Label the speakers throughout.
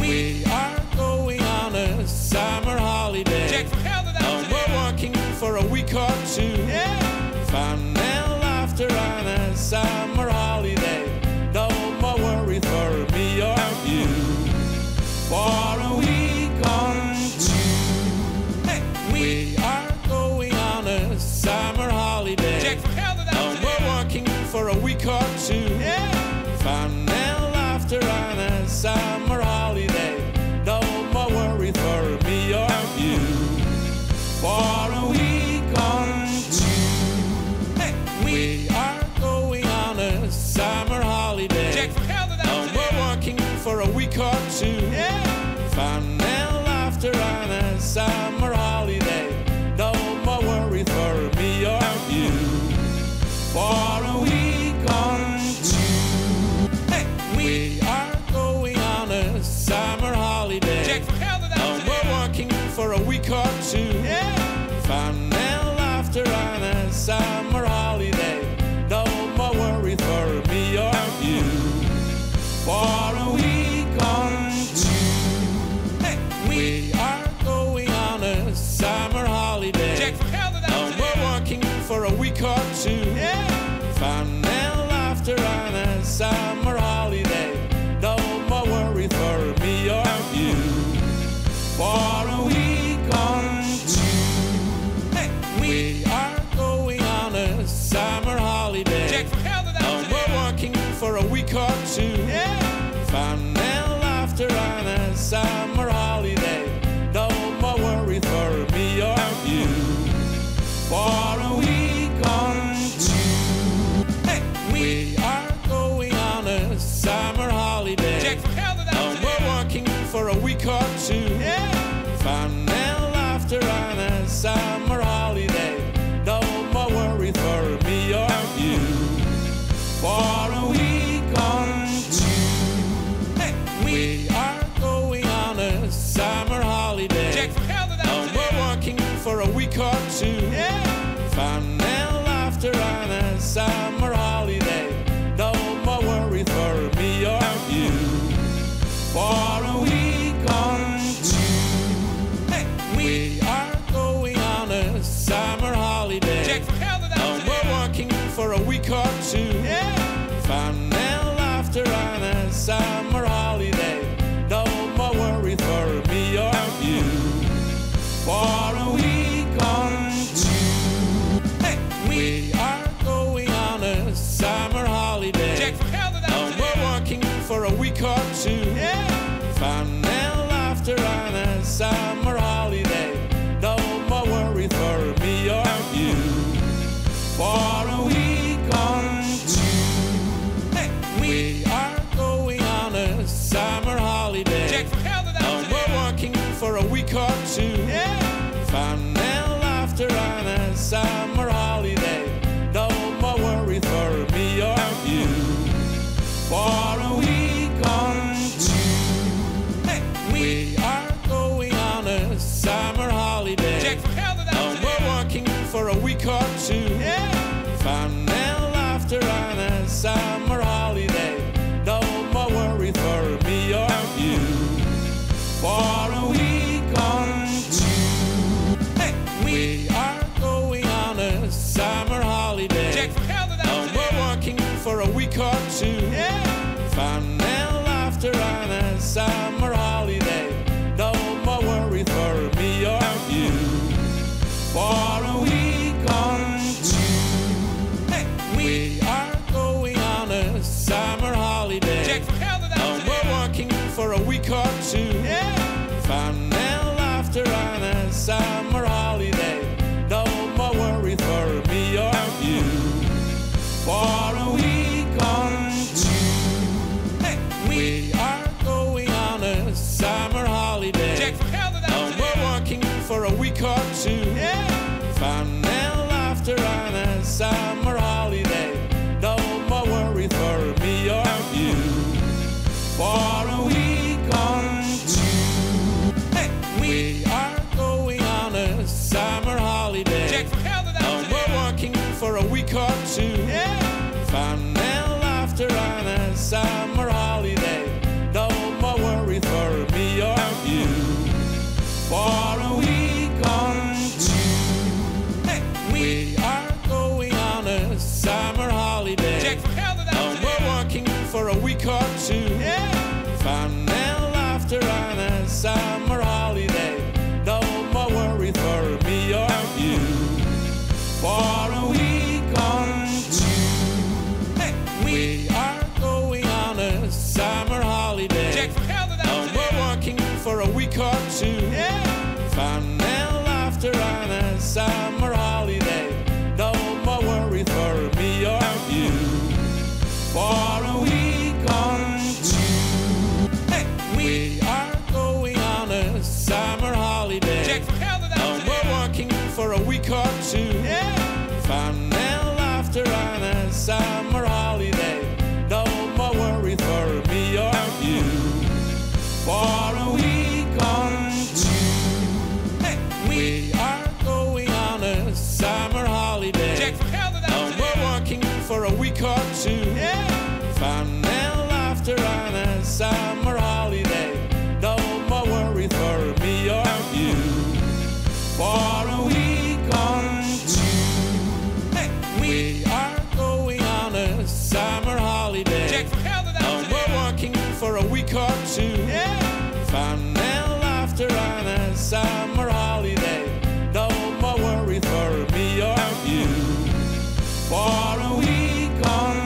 Speaker 1: We are going on a summer holiday.
Speaker 2: Jack van Gelder, dames
Speaker 1: And
Speaker 2: en
Speaker 1: we're
Speaker 2: heren.
Speaker 1: working for a week or two.
Speaker 2: Ja.
Speaker 1: Fun and laughter on a summer holiday. No more worry for me or you. For a week or two.
Speaker 2: Hey.
Speaker 1: We are going on a summer holiday.
Speaker 2: Jack van Gelder, dames
Speaker 1: And
Speaker 2: en
Speaker 1: we're
Speaker 2: heren.
Speaker 1: working for a week or two.
Speaker 2: Ja.
Speaker 1: Fun and laughter on a summer holiday. No more worry for me or you. For a week or two,
Speaker 2: Hey.
Speaker 1: we are going on a summer holiday.
Speaker 2: Jack van Gelder, dames
Speaker 1: And
Speaker 2: en
Speaker 1: we're
Speaker 2: heren.
Speaker 1: working for a week or two.
Speaker 2: Ja.
Speaker 1: Fun and laughter on a summer holiday. No more worry for me or you. For a week or two, we
Speaker 2: Hey.
Speaker 1: are going on a summer holiday.
Speaker 2: Jack van Gelder, dames en
Speaker 1: and we're
Speaker 2: heren.
Speaker 1: working for a week or two.
Speaker 2: Ja.
Speaker 1: Fun and laughter on a summer holiday. No more worry for me or you. For a week or two,
Speaker 2: Hey.
Speaker 1: we are going on a summer holiday.
Speaker 2: Jack van Gelder, dames
Speaker 1: and
Speaker 2: en
Speaker 1: we're
Speaker 2: heren.
Speaker 1: working for a week or two. Fun and laughter on a summer holiday. No more worry for me or you. For a
Speaker 2: Ja.
Speaker 1: week or two, we are going on a summer holiday. and we're working for
Speaker 2: Hey. Jack van Gelder, dames en heren.
Speaker 1: a week or two.
Speaker 2: Ja.
Speaker 1: Fun and laughter on a summer holiday. No more worry for me or you. For a week or two.
Speaker 2: Hey.
Speaker 1: We are going on a summer holiday.
Speaker 2: Jack van Gelder, dames
Speaker 1: and
Speaker 2: en
Speaker 1: we're
Speaker 2: heren.
Speaker 1: working for a week or two.
Speaker 2: Ja.
Speaker 1: Fun and laughter on a summer holiday. No more worry for me or you. For a week or two,
Speaker 2: Hey.
Speaker 1: we are going on a summer holiday.
Speaker 2: Jack van Gelder, dames
Speaker 1: and
Speaker 2: en
Speaker 1: we're
Speaker 2: heren.
Speaker 1: working for a week or two.
Speaker 2: Ja.
Speaker 1: Fun and laughter on a summer holiday. No more worry for me or you. For a week or two,
Speaker 2: Hey.
Speaker 1: we are going on a summer holiday.
Speaker 2: Jack van Gelder, dames
Speaker 1: and
Speaker 2: en
Speaker 1: we're
Speaker 2: heren.
Speaker 1: working for a week or two.
Speaker 2: Ja.
Speaker 1: Fun and laughter on a summer holiday. No more worry for me or you. For a week or two,
Speaker 2: Hey.
Speaker 1: we are going on a summer holiday.
Speaker 2: Jack van Gelder, dames
Speaker 1: and
Speaker 2: en
Speaker 1: we're
Speaker 2: heren.
Speaker 1: working for a week or two.
Speaker 2: Ja.
Speaker 1: Fun and laughter on a summer holiday. No more worry for me or you. For a week or two,
Speaker 2: Hey.
Speaker 1: we are going on a summer holiday.
Speaker 2: Jack van Gelder,
Speaker 1: and
Speaker 2: dames en heren.
Speaker 1: we're working for a week or two. Fun and laughter on a summer holiday. No more worry for me or you. For a week or two. We are going
Speaker 2: Ja. Hey.
Speaker 1: on a summer holiday. and we're working for a week or two.
Speaker 2: Jack van Gelder, dames en heren. Ja.
Speaker 1: Fun and laughter on a summer holiday. No more worry for me or you. For a week or two,
Speaker 2: Hey.
Speaker 1: we are going on a summer holiday.
Speaker 2: Jack van Gelder,
Speaker 1: and
Speaker 2: dames en
Speaker 1: we're
Speaker 2: heren.
Speaker 1: working for a week or two.
Speaker 2: Ja.
Speaker 1: Fun and laughter on a summer holiday. No more worry for me or you. For a week or two,
Speaker 2: Hey.
Speaker 1: we are going on a summer holiday.
Speaker 2: Jack van Gelder,
Speaker 1: and
Speaker 2: dames en
Speaker 1: we're
Speaker 2: heren.
Speaker 1: working for a week or two.
Speaker 2: Ja.
Speaker 1: Fun and laughter on a summer holiday. No more worry for me or you. For a week or two,
Speaker 2: Hey.
Speaker 1: we are going on a summer holiday.
Speaker 2: Jack van Gelder, dames
Speaker 1: and
Speaker 2: en
Speaker 1: we're
Speaker 2: heren.
Speaker 1: working for a week or two.
Speaker 2: Ja.
Speaker 1: Fun and laughter on a summer holiday. No more worry for me or you. For a week or two. Fun and laughter on a summer holiday. No more worry for me or you. For a week or two,
Speaker 2: Hey,
Speaker 1: we are going on a summer holiday.
Speaker 2: Jack, from hell to
Speaker 1: No
Speaker 2: down to
Speaker 1: more
Speaker 2: there.
Speaker 1: working for a week or two.
Speaker 2: Yeah.
Speaker 1: Fun and laughter on a summer holiday. No more worry for me or you. For a week or two,
Speaker 2: Hey, we.
Speaker 1: we are going on a summer holiday.
Speaker 2: Jack, from hell to
Speaker 1: no
Speaker 2: down to
Speaker 1: more
Speaker 2: there.
Speaker 1: working for a week or two.
Speaker 2: Yeah.
Speaker 1: Fun and laughter on a summer holiday. No more worry for me or you. For a week or two,
Speaker 2: Hey, we.
Speaker 1: we are going on a summer holiday.
Speaker 2: Jack, from hell to
Speaker 1: no
Speaker 2: down to
Speaker 1: more
Speaker 2: there.
Speaker 1: working for a week or two.
Speaker 2: Yeah.
Speaker 1: Fun and laughter on a summer holiday. No more worry for me or you. For a week or two,
Speaker 2: Hey, we.
Speaker 1: we are going on a summer holiday.
Speaker 2: Jack, from hell to
Speaker 1: no
Speaker 2: down to
Speaker 1: more
Speaker 2: there.
Speaker 1: working for a week or two.
Speaker 2: Yeah.
Speaker 1: Fun and laughter on a summer holiday. No more worry for me or you.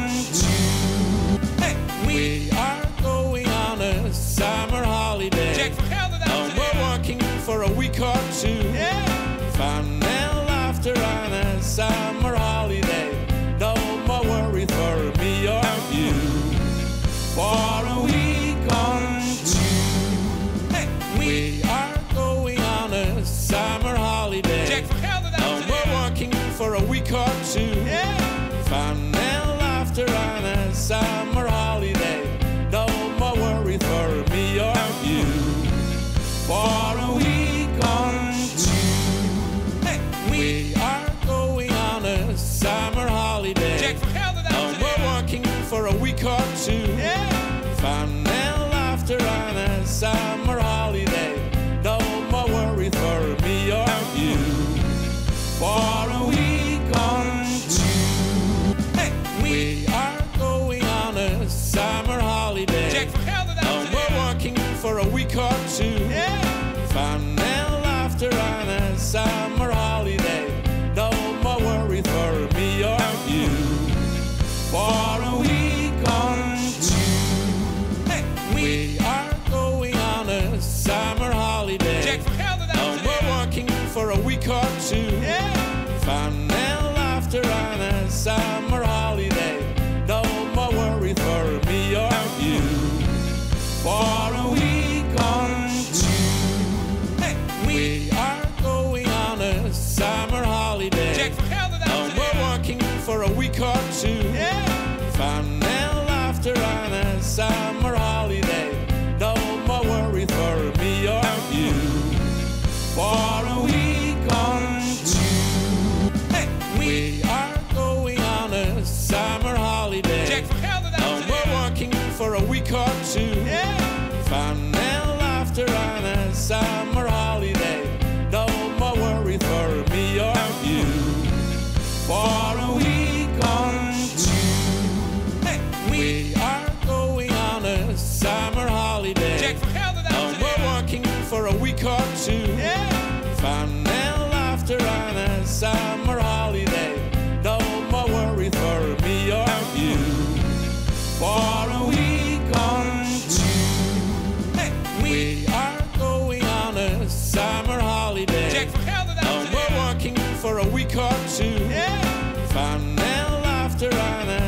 Speaker 1: For a week or two.
Speaker 2: Hey, we.
Speaker 1: We are going on a summer holiday.
Speaker 2: Jack, from hell to
Speaker 1: no
Speaker 2: down to
Speaker 1: more
Speaker 2: there.
Speaker 1: working for a week or two.
Speaker 2: Yeah.
Speaker 1: Fun and laughter on a summer holiday. No more worry for me or you. For a week or two,
Speaker 2: Hey, we.
Speaker 1: we are going on a summer holiday.
Speaker 2: Jack, from hell to
Speaker 1: no
Speaker 2: down to
Speaker 1: more
Speaker 2: there.
Speaker 1: working for a week or two.
Speaker 2: Yeah.
Speaker 1: Fun and laughter on a summer holiday. No more worry for me or you. For a week or two,
Speaker 2: Hey, we.
Speaker 1: we are going on a summer holiday.
Speaker 2: Jack, from hell to
Speaker 1: no
Speaker 2: down to
Speaker 1: more
Speaker 2: there.
Speaker 1: working for a week or two.
Speaker 2: Yeah.
Speaker 1: Fun and laughter on a summer holiday. No more worry for me or you. For a week or two.
Speaker 2: Hey, we.
Speaker 1: We are going on a summer holiday.
Speaker 2: Jack, from hell to
Speaker 1: no
Speaker 2: down to
Speaker 1: more
Speaker 2: there.
Speaker 1: working for a week or two.
Speaker 2: Yeah.
Speaker 1: Fun and laughter on a summer holiday. No more worry for me or you. For a week or two,
Speaker 2: Hey, we.
Speaker 1: we are going on a summer holiday.
Speaker 2: Jack, from hell to
Speaker 1: no
Speaker 2: down to
Speaker 1: more
Speaker 2: there.
Speaker 1: working for a week or two.
Speaker 2: Yeah.
Speaker 1: Fun and laughter on a summer holiday. No more worry for me or you. For a week or two,
Speaker 2: Hey, we.
Speaker 1: we are going on a summer holiday.
Speaker 2: Jack, from hell to
Speaker 1: no
Speaker 2: down to
Speaker 1: more
Speaker 2: there.
Speaker 1: working for a week or two.
Speaker 2: Yeah.
Speaker 1: Fun and laughter on a summer holiday. No more worry for me or you. For a week or two.
Speaker 2: Hey, we.
Speaker 1: We are going on a summer holiday.
Speaker 2: Jack, from hell to
Speaker 1: no
Speaker 2: down to
Speaker 1: more
Speaker 2: there.
Speaker 1: working for a week or two.
Speaker 2: Yeah.
Speaker 1: Fun and laughter on a summer holiday. No more worry for me or you. For a week or two,
Speaker 2: Hey, we.
Speaker 1: we are going on a summer holiday.
Speaker 2: Jack, from hell to
Speaker 1: no
Speaker 2: down to
Speaker 1: more
Speaker 2: there.
Speaker 1: working for a week or two.
Speaker 2: Yeah.
Speaker 1: Fun and laughter on a summer holiday. No more worry for me or you. For a week or two,
Speaker 2: Hey, we.
Speaker 1: we are going on a summer holiday.
Speaker 2: Jack, from hell to
Speaker 1: no
Speaker 2: down to
Speaker 1: more
Speaker 2: there.
Speaker 1: working for a week or two.
Speaker 2: Yeah.
Speaker 1: Fun and laughter on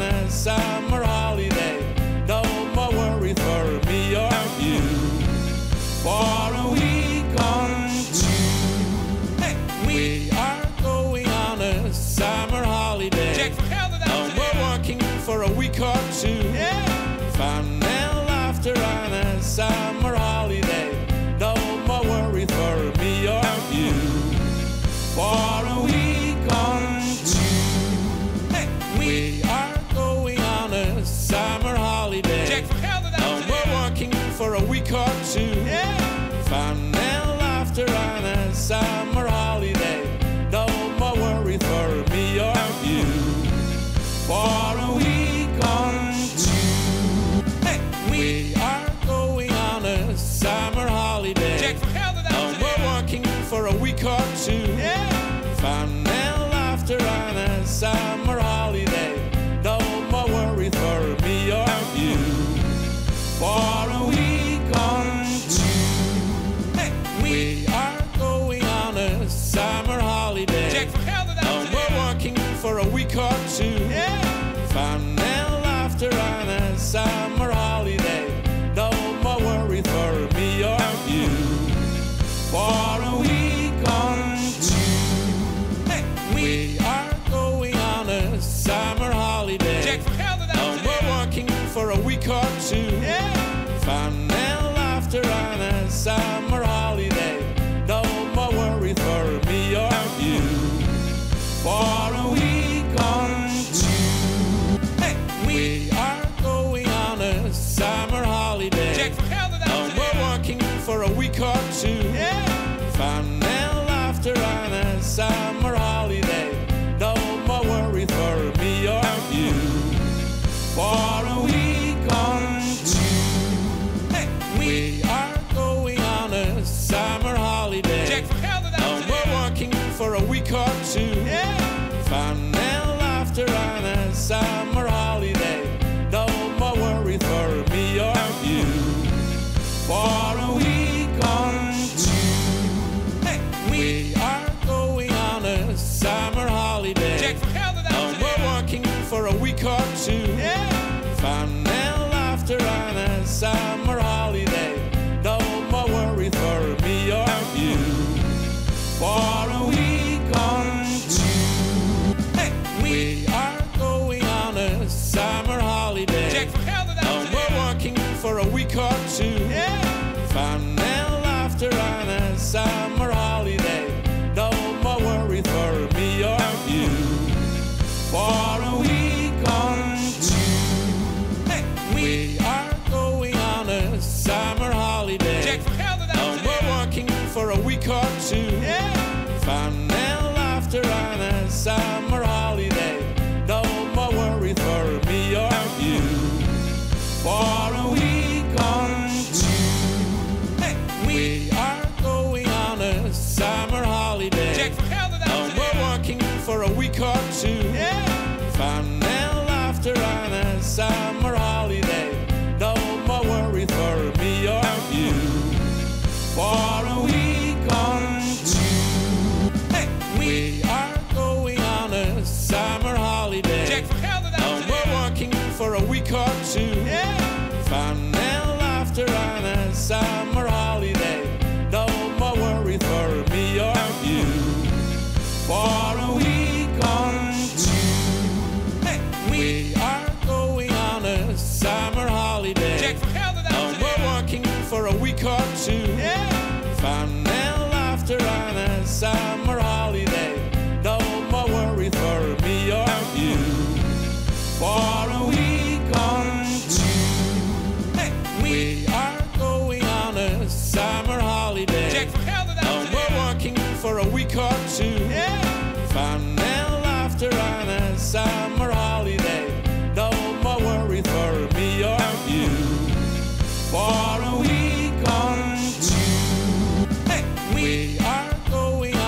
Speaker 1: a summer holiday. No more worry for me or you. For a week or two.
Speaker 2: Hey, we.
Speaker 1: We are going on a summer holiday.
Speaker 2: Jack, from hell to
Speaker 1: no
Speaker 2: down to
Speaker 1: more
Speaker 2: there.
Speaker 1: working for a week or two. Fun and laughter on a summer holiday. No more worry for me or you. For a week
Speaker 2: Yeah.
Speaker 1: or two,
Speaker 2: Hey, we.
Speaker 1: we are going on a summer holiday. no more working for a week or
Speaker 2: Jack, from hell to down to there.
Speaker 1: two.
Speaker 2: Yeah.
Speaker 1: Fun and laughter on a summer holiday. No more worry for me or you. For a week or two,
Speaker 2: Hey, we.
Speaker 1: we are going on fun and laughter on a summer holiday. No more worry for me or you. For a week or two,
Speaker 2: Hey, we
Speaker 1: we are going on a summer holiday.
Speaker 2: Jack from hell that
Speaker 1: no more working for a week or two.
Speaker 2: Yeah,
Speaker 1: Fun and laughter on a summer holiday. No more worry for me or you. For a week or two,
Speaker 2: hey, we
Speaker 1: we are going on a summer holiday.
Speaker 2: Jack from hell that
Speaker 1: no more working for a week or two.
Speaker 2: Yeah,
Speaker 1: Fun and laughter on a summer holiday. No more worry for me or you. For a week or two.
Speaker 2: hey, we
Speaker 1: We are going on a summer holiday.
Speaker 2: Jack from hell
Speaker 1: No
Speaker 2: that
Speaker 1: more working for a week or two.
Speaker 2: Yeah,
Speaker 1: Fun and laughter on a summer holiday. No more worry for me or you. For a week or two,
Speaker 2: hey,
Speaker 1: we
Speaker 2: we
Speaker 1: are going on a summer holiday.
Speaker 2: Jack from hell
Speaker 1: no
Speaker 2: that
Speaker 1: more working for a week or two.
Speaker 2: Yeah,
Speaker 1: Fun and laughter on a summer holiday. No more worry for me or you. For a week or two,
Speaker 2: hey, we
Speaker 1: we are going on a summer holiday.
Speaker 2: Jack from hell
Speaker 1: no
Speaker 2: that
Speaker 1: more working for a week or two.
Speaker 2: Yeah,
Speaker 1: Fun and laughter on a summer holiday. No more worry for me or you. For a week or two.
Speaker 2: hey, we
Speaker 1: We are going on a summer holiday.
Speaker 2: Jack from hell
Speaker 1: no
Speaker 2: that
Speaker 1: more working for a week or two.
Speaker 2: Yeah,
Speaker 1: Fun and laughter on a summer holiday. No more worry for me or you. For a week or two,
Speaker 2: hey, we
Speaker 1: we are going on a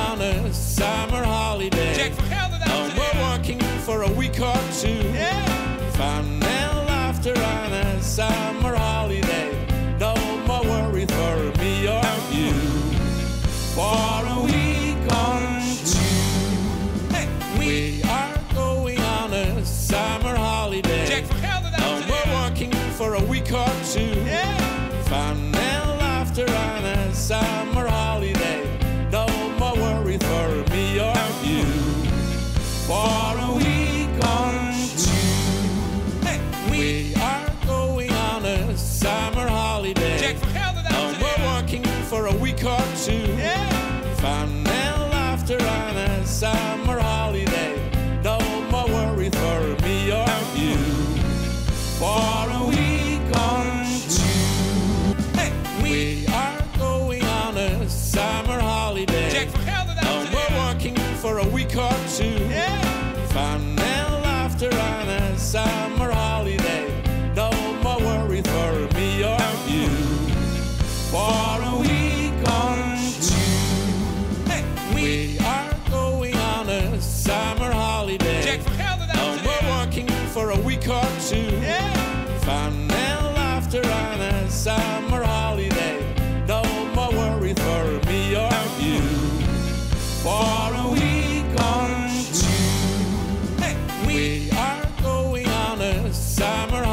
Speaker 1: summer holiday.
Speaker 2: Jack from hell
Speaker 1: no
Speaker 2: that
Speaker 1: more working for a week or two.
Speaker 2: Yeah,
Speaker 1: Fun and laughter on a summer holiday. No more worry for me or you. For a week or two,
Speaker 2: hey, we
Speaker 1: we are going on a summer holiday.
Speaker 2: Jack from hell
Speaker 1: no
Speaker 2: that
Speaker 1: more working for a week or two.
Speaker 2: Yeah,
Speaker 1: Fun and laughter on a summer holiday. No more worry for me or you. For a week or two.
Speaker 2: hey, we
Speaker 1: We are going on a summer holiday.
Speaker 2: Jack from hell
Speaker 1: no
Speaker 2: that
Speaker 1: more working for a week or two.
Speaker 2: Yeah,
Speaker 1: Fun and laughter on a summer holiday. No more worry for me or you. For a week or two,
Speaker 2: hey, we
Speaker 1: we are going on a summer holiday.
Speaker 2: Jack from hell
Speaker 1: no
Speaker 2: that
Speaker 1: more working for a week or two.
Speaker 2: Yeah,
Speaker 1: Fun and laughter on a summer holiday. No more worry for me or you. For a week or two,
Speaker 2: hey, we
Speaker 1: we are going on a summer holiday.
Speaker 2: Jack from hell
Speaker 1: no
Speaker 2: that
Speaker 1: more working for a week or two.
Speaker 2: Yeah,
Speaker 1: Fun and laughter on a summer holiday. No more worry for me or you. For a week or two.
Speaker 2: hey, we
Speaker 1: We are going on a summer holiday.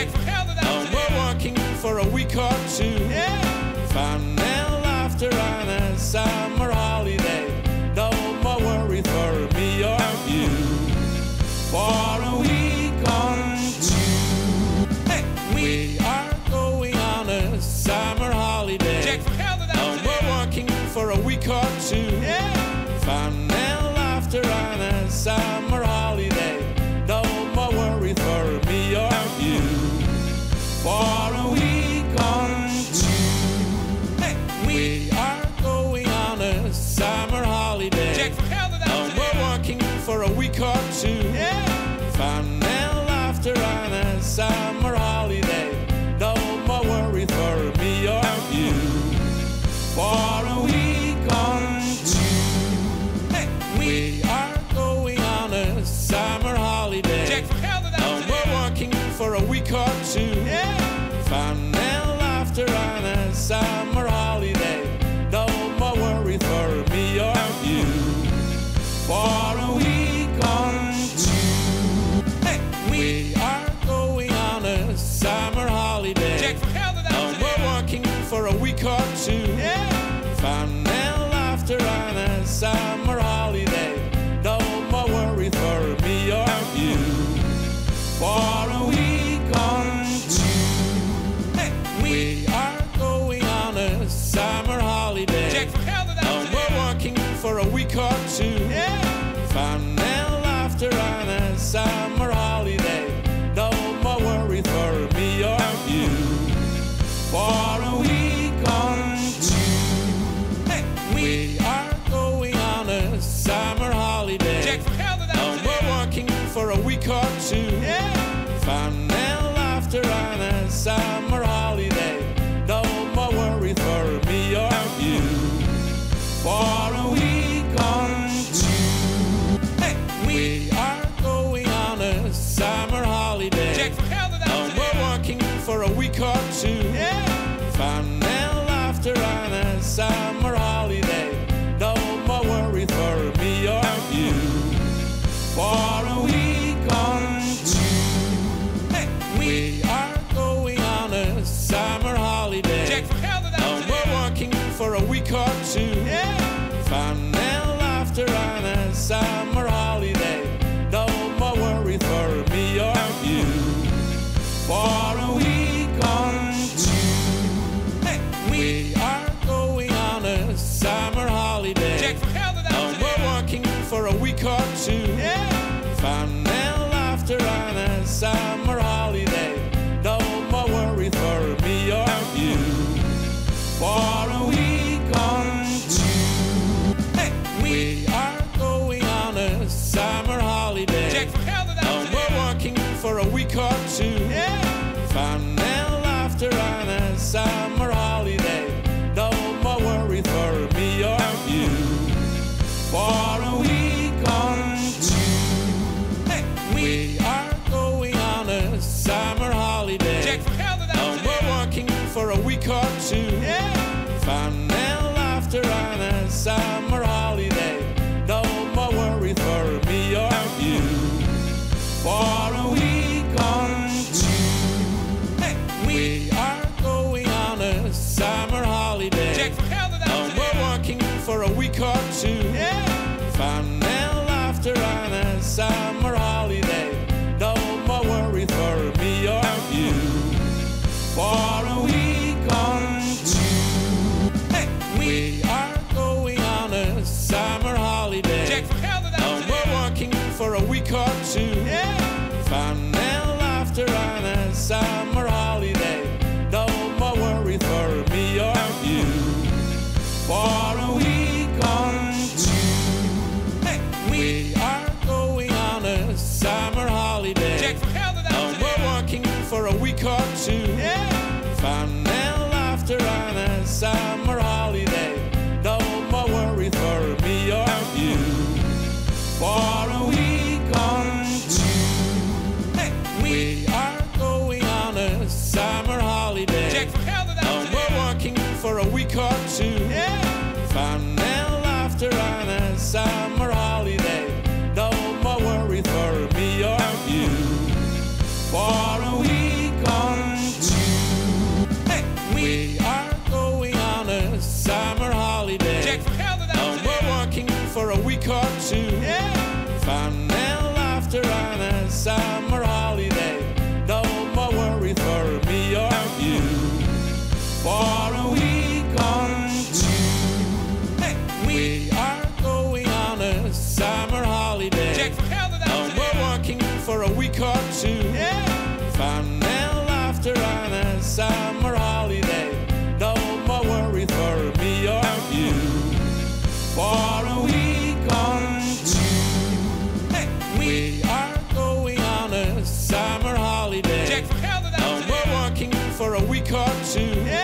Speaker 2: Jack from hell
Speaker 1: no
Speaker 2: that
Speaker 1: more working for a week or two.
Speaker 2: Yeah,
Speaker 1: Fun and laughter on a summer holiday. No more worry for me or you. For a week or two,
Speaker 2: hey, we
Speaker 1: we are going on a summer holiday.
Speaker 2: Jack from hell
Speaker 1: no
Speaker 2: that
Speaker 1: more working for a week or two.
Speaker 2: Yeah,
Speaker 1: Fun and laughter on a summer holiday. No more worry for me or you. For a week or two,
Speaker 2: hey, we
Speaker 1: we are going on a summer holiday.
Speaker 2: Jack from hell
Speaker 1: no
Speaker 2: that
Speaker 1: more working for a week or two.
Speaker 2: Yeah,
Speaker 1: Fun and laughter on a summer holiday. No more worry for me or you. For a week or two.
Speaker 2: hey, we
Speaker 1: We are going on a summer holiday.
Speaker 2: Jack from hell
Speaker 1: no
Speaker 2: that
Speaker 1: more working for a week or two.
Speaker 2: Yeah,
Speaker 1: Fun and laughter on a summer holiday. No more worry for me or you. For a week or two,
Speaker 2: hey, we
Speaker 1: we are going on Oh, Oh, Oh, We are going on a summer holiday.
Speaker 2: Jack, fuck out of that
Speaker 1: no more working for a week or two.
Speaker 2: Yeah.
Speaker 1: Fun and laughter on a summer holiday. No more worry for me or you. For a week or two,
Speaker 2: Hey, we.
Speaker 1: we are going on a summer holiday.
Speaker 2: Jack, fuck out of
Speaker 1: no
Speaker 2: that
Speaker 1: more working for a week or two.
Speaker 2: Yeah.
Speaker 1: Fun and laughter on a summer holiday. No more worry for me or you. For a week or two,
Speaker 2: Hey, we.
Speaker 1: we are going on a summer holiday.
Speaker 2: Jack, fuck out of
Speaker 1: no more
Speaker 2: that
Speaker 1: working for a week or two.
Speaker 2: Yeah.
Speaker 1: Fun and laughter on a summer holiday. No more worry for me or you. For a week or two.
Speaker 2: Hey, we.
Speaker 1: We are going on a summer holiday.
Speaker 2: Jack, fuck out of
Speaker 1: no
Speaker 2: that
Speaker 1: more working for a week or two.
Speaker 2: Yeah.
Speaker 1: Fun and laughter on a summer holiday. No more worry for me or you. For a week or two,
Speaker 2: Hey, we.
Speaker 1: we are going on a summer holiday.
Speaker 2: Jack, fuck out of
Speaker 1: no
Speaker 2: that
Speaker 1: more working for a week or two.
Speaker 2: Yeah.
Speaker 1: Fun and laughter on a summer holiday. No more worry for me or you. For a week or two,
Speaker 2: Hey, we.
Speaker 1: we are going on a summer holiday.
Speaker 2: Jack, fuck out of
Speaker 1: no
Speaker 2: that
Speaker 1: more working for a week or two.
Speaker 2: Yeah.
Speaker 1: Fun and laughter on a summer holiday. No more worry for me or you. For a week or two.
Speaker 2: Hey, we.
Speaker 1: We are going on a summer holiday.
Speaker 2: Jack, fuck out of
Speaker 1: no
Speaker 2: that
Speaker 1: more working for a week or two.
Speaker 2: Yeah.
Speaker 1: Fun and laughter on a summer holiday. No more worry for me or you. For a week or two,
Speaker 2: Hey, we.
Speaker 1: we are going on a summer holiday.
Speaker 2: Jack, fuck out of
Speaker 1: no
Speaker 2: that
Speaker 1: more working for a week or two.
Speaker 2: Yeah.
Speaker 1: Fun and laughter on a summer holiday. No more worry for me or you. For a week or two,
Speaker 2: Hey, we.
Speaker 1: we are going on a summer holiday.
Speaker 2: Jack, fuck out of
Speaker 1: no
Speaker 2: that
Speaker 1: more working for a week or two.
Speaker 2: Yeah.
Speaker 1: Fun and laughter on a summer holiday. No more worry for me or you. For a week or two.
Speaker 2: Hey, we.
Speaker 1: We are going on a summer holiday.
Speaker 2: Jack, fuck out of
Speaker 1: no
Speaker 2: that
Speaker 1: more working for a week or two.
Speaker 2: Yeah.
Speaker 1: Fun and laughter on a summer holiday. No more worry for me or you. For a week or two,
Speaker 2: Hey, we.
Speaker 1: we are going on a summer holiday.
Speaker 2: Jack, fuck out of
Speaker 1: no
Speaker 2: that
Speaker 1: more working for a week or two.
Speaker 2: Yeah.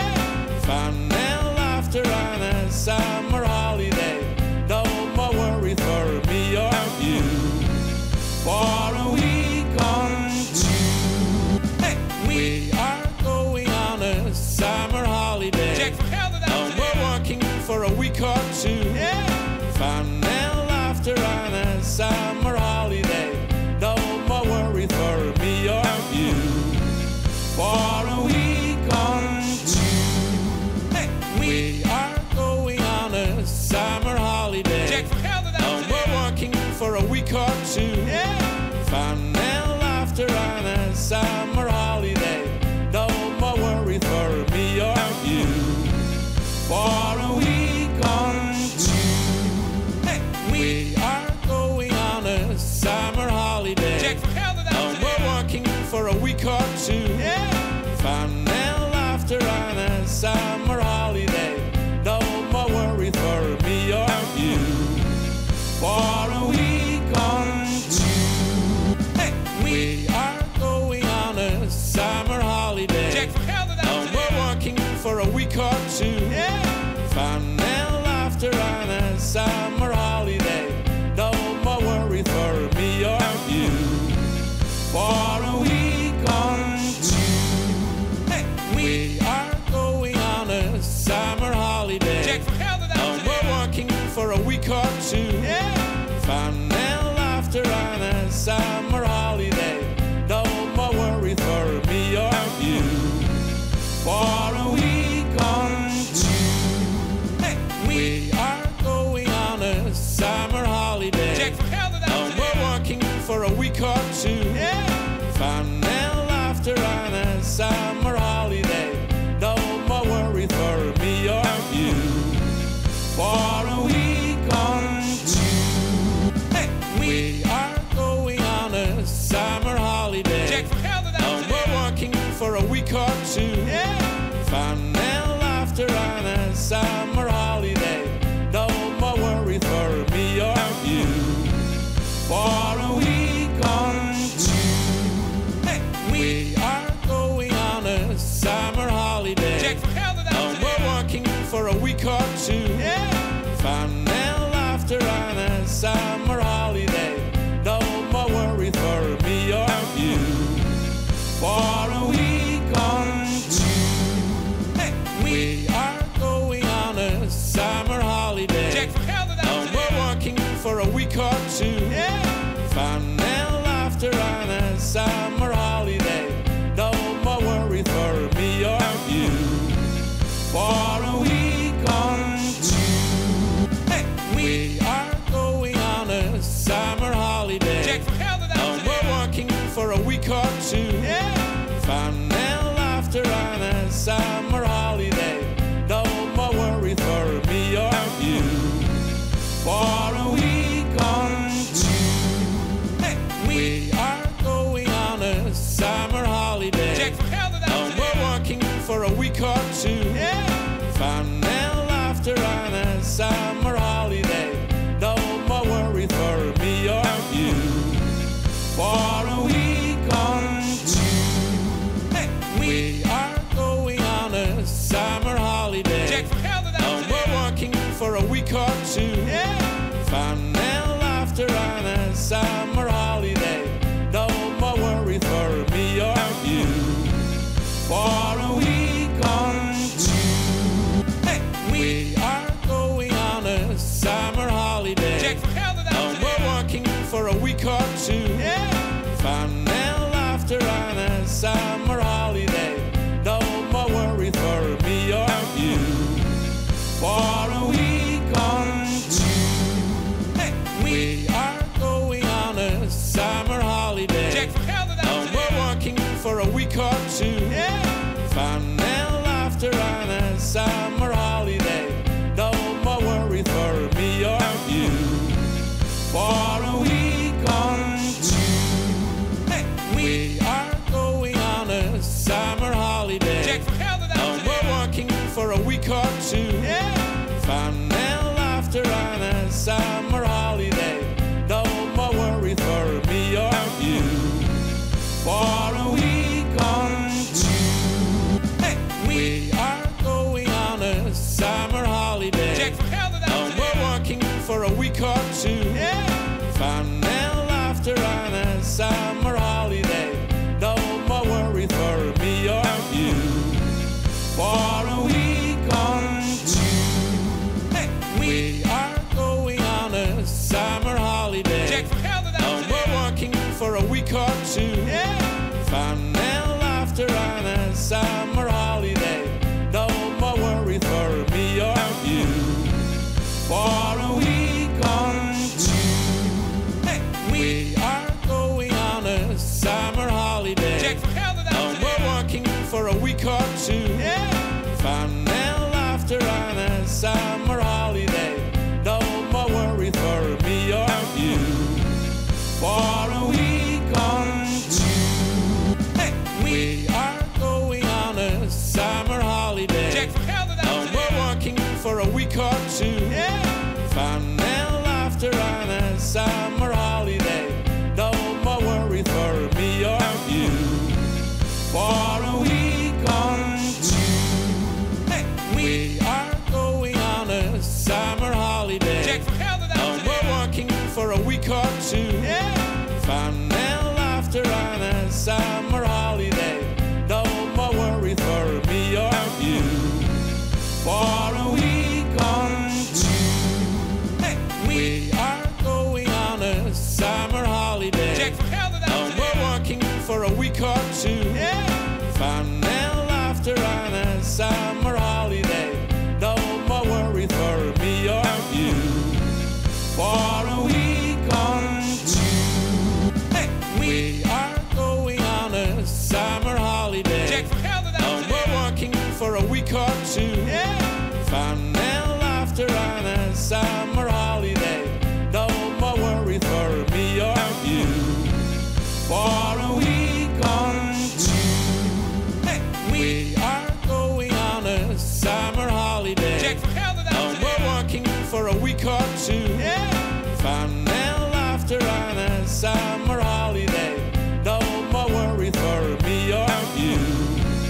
Speaker 1: Fun and laughter on a summer holiday. No more worry for me or you. For a week or two,
Speaker 2: Hey, we.
Speaker 1: we are going on a summer holiday.
Speaker 2: Jack, fuck out of
Speaker 1: no
Speaker 2: that
Speaker 1: more working for a week or two.
Speaker 2: Yeah.
Speaker 1: Fun and laughter on a summer holiday. No more worry for me or you. For a week or two.
Speaker 2: Hey, we.
Speaker 1: We are going on a summer holiday.
Speaker 2: Jack, fuck out of
Speaker 1: no
Speaker 2: that
Speaker 1: more working for a week or two.
Speaker 2: Yeah.
Speaker 1: Fun and laughter on a summer holiday. No more worry for me or you. For a week or two,
Speaker 2: Hey, we.
Speaker 1: we are going on a summer holiday.
Speaker 2: Jack, fuck out of
Speaker 1: no
Speaker 2: that
Speaker 1: more working for a week or two. Fun and laughter on a summer holiday. No more worry for me or you. For a week or two, we are going on a summer holiday. no more working for a
Speaker 2: Yeah. Hey, we. Jack, fuck out of that
Speaker 1: week or two.
Speaker 2: Yeah.
Speaker 1: Fun and laughter on a summer holiday. No more worry for me or you. For a week or two.
Speaker 2: Hey,
Speaker 1: week or two.
Speaker 2: Yeah.
Speaker 1: Fun and laughter on a summer holiday. No more worry for me or you. For a week or two,
Speaker 2: Hey, we
Speaker 1: we are going on a summer holiday.
Speaker 2: check for hell that
Speaker 1: No more
Speaker 2: out
Speaker 1: working for a week or two.
Speaker 2: today. Yeah.
Speaker 1: Fun and laughter on a summer holiday. No more worry for me or you. For a week or two,
Speaker 2: Hey, we
Speaker 1: we are going on a summer holiday.
Speaker 2: check for hell that
Speaker 1: No
Speaker 2: out
Speaker 1: more
Speaker 2: today.
Speaker 1: working for a week or two.
Speaker 2: Yeah.
Speaker 1: Fun and laughter on a summer holiday. No more worry for me or you. For a week or two.
Speaker 2: Hey, we
Speaker 1: We are going on a summer holiday.
Speaker 2: check for hell that
Speaker 1: No
Speaker 2: out
Speaker 1: more
Speaker 2: today.
Speaker 1: working for a week or two.
Speaker 2: Yeah.
Speaker 1: Fun and laughter on a summer holiday. No more worry for me or you. For a week or two,
Speaker 2: Hey, we
Speaker 1: we are going on a summer holiday.
Speaker 2: check for hell that
Speaker 1: no
Speaker 2: out
Speaker 1: more
Speaker 2: today.
Speaker 1: working for a week or two.
Speaker 2: Yeah.
Speaker 1: Fun and laughter on a summer holiday. No more worry for me or you. For a week or two,
Speaker 2: Hey, we
Speaker 1: we are going on a summer holiday.
Speaker 2: check for hell that
Speaker 1: no
Speaker 2: out
Speaker 1: more
Speaker 2: today.
Speaker 1: working for a week or two.
Speaker 2: Yeah.
Speaker 1: Fun and laughter on a summer holiday. No more worry for me or you. For a week or two.
Speaker 2: Hey, we
Speaker 1: We are going on a summer holiday.
Speaker 2: check for hell that
Speaker 1: no
Speaker 2: out
Speaker 1: more
Speaker 2: today.
Speaker 1: working for a week or two.
Speaker 2: Yeah.
Speaker 1: Fun and laughter on a summer holiday. No more worry for me or you. For a week or two,
Speaker 2: Hey, we
Speaker 1: we are going on a summer holiday.
Speaker 2: check for hell that
Speaker 1: no
Speaker 2: out
Speaker 1: more
Speaker 2: today.
Speaker 1: working for a week or two.
Speaker 2: Yeah.
Speaker 1: Fun and laughter on a summer holiday. No more worry for me or you. For a week or two,
Speaker 2: Hey, we
Speaker 1: we are going on a summer holiday.
Speaker 2: check for hell that
Speaker 1: no
Speaker 2: out
Speaker 1: more
Speaker 2: today.
Speaker 1: working for a week or two.
Speaker 2: Yeah.
Speaker 1: Fun and laughter on a summer holiday. No more worry for me or you. For a week or two.
Speaker 2: Hey, we
Speaker 1: We are going on a summer holiday.
Speaker 2: check for hell that
Speaker 1: no
Speaker 2: out
Speaker 1: more
Speaker 2: today.
Speaker 1: working for a week or two.
Speaker 2: Yeah.
Speaker 1: Fun and laughter on a summer holiday. No more worry for me or you. For a week or two,
Speaker 2: Hey, we
Speaker 1: we are going on a summer holiday.
Speaker 2: check for hell that
Speaker 1: no
Speaker 2: out today.
Speaker 1: more working for a week or two. Fun and laughter on a summer holiday. No more worry for me or you. For a
Speaker 2: Yeah.
Speaker 1: week or two, we are going on a summer holiday. no more working for
Speaker 2: Hey, we check for hell that out today.
Speaker 1: a week or two.
Speaker 2: Yeah.
Speaker 1: Fun and laughter on a summer holiday. No more worry for me or you. For a week or two.
Speaker 2: Hey, we
Speaker 1: We are going on a summer holiday.
Speaker 2: check for hell that
Speaker 1: no
Speaker 2: out today.
Speaker 1: more working for a week or two.
Speaker 2: Yeah.
Speaker 1: Fun and laughter on a summer holiday. No more worry for me or you. For a week or two,
Speaker 2: Hey, we
Speaker 1: we are going on a summer holiday.
Speaker 2: check for hell that
Speaker 1: no
Speaker 2: out today.
Speaker 1: more working for a week or two.
Speaker 2: Yeah.
Speaker 1: Fun and laughter on a summer holiday. No more worry for me or you. For a week or two,
Speaker 2: Hey, we
Speaker 1: we are going on a summer holiday.
Speaker 2: check for hell that
Speaker 1: No
Speaker 2: out today.
Speaker 1: more working for a week or two.
Speaker 2: Yeah.
Speaker 1: Fun and laughter on a summer holiday. No more worry for me or you. For a week or two.
Speaker 2: Hey, we
Speaker 1: We are going on a summer holiday.
Speaker 2: check for hell that
Speaker 1: no
Speaker 2: out today.
Speaker 1: more working for a week or two.
Speaker 2: Yeah.
Speaker 1: Fun and laughter on a summer holiday. No more worry for me or you. For a week or two,
Speaker 2: Hey,
Speaker 1: We are going on a summer holiday.
Speaker 2: Jack, for hell that
Speaker 1: Oh,
Speaker 2: out
Speaker 1: we're
Speaker 2: today.
Speaker 1: working for a week or two.
Speaker 2: Yeah.
Speaker 1: Fun and laughter on a summer holiday. No more worry for me or you. For a week or two,
Speaker 2: Hey,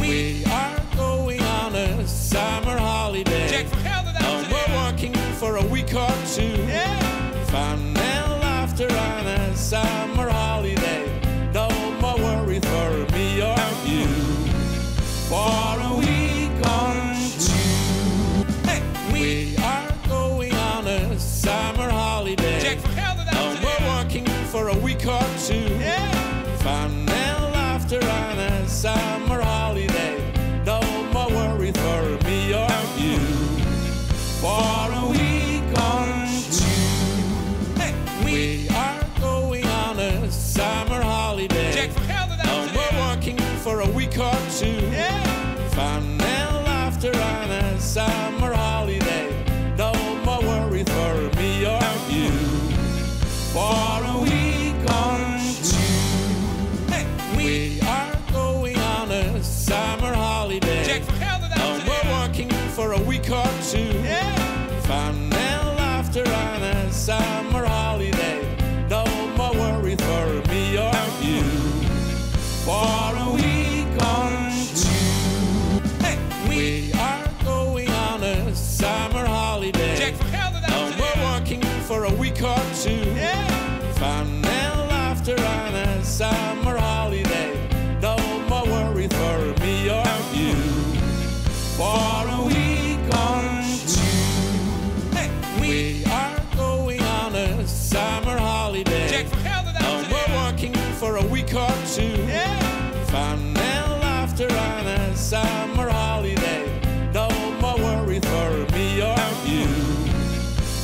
Speaker 2: we
Speaker 1: we are going on a summer holiday.
Speaker 2: Jack, for hell that
Speaker 1: Oh,
Speaker 2: out
Speaker 1: we're
Speaker 2: today.
Speaker 1: working for a week or two.
Speaker 2: Yeah.
Speaker 1: Fun and laughter on a summer holiday. No more worry for me or you. For a week or two,
Speaker 2: Hey, we
Speaker 1: we are going on a summer holiday.
Speaker 2: Jack, for hell that
Speaker 1: No
Speaker 2: out
Speaker 1: more
Speaker 2: today.
Speaker 1: working for a week or two.
Speaker 2: Yeah.
Speaker 1: Fun and laughter on a summer holiday. No more worry for me or you. For a week or two.
Speaker 2: Hey, we
Speaker 1: We are going on a summer holiday.
Speaker 2: Jack, for hell that
Speaker 1: Oh,
Speaker 2: out
Speaker 1: we're
Speaker 2: today.
Speaker 1: working for a week or two.
Speaker 2: Yeah.
Speaker 1: Fun and laughter on a summer holiday. No more worry for me or you. For a week or two.
Speaker 2: Hey, we
Speaker 1: We are going on a summer holiday.
Speaker 2: Jack, for hell that out
Speaker 1: Oh, we're
Speaker 2: today.
Speaker 1: working for a week or two.
Speaker 2: Yeah.
Speaker 1: Fun and laughter on a summer holiday. No more worry for me or you. For a week or two,
Speaker 2: Hey, we
Speaker 1: we are going on a summer holiday.
Speaker 2: Jack, for hell that
Speaker 1: Oh,
Speaker 2: out
Speaker 1: we're
Speaker 2: today.
Speaker 1: working for a week or two. Fun and laughter on a summer holiday. No more worry for me or you. For a
Speaker 2: Yeah.
Speaker 1: week or two. We are going on a summer holiday. Oh, we're working for a
Speaker 2: Hey, we Jack, for hell that out today.
Speaker 1: week or two.
Speaker 2: Yeah.
Speaker 1: Fun and laughter on a summer holiday. No more worry for me or you. For a week or two,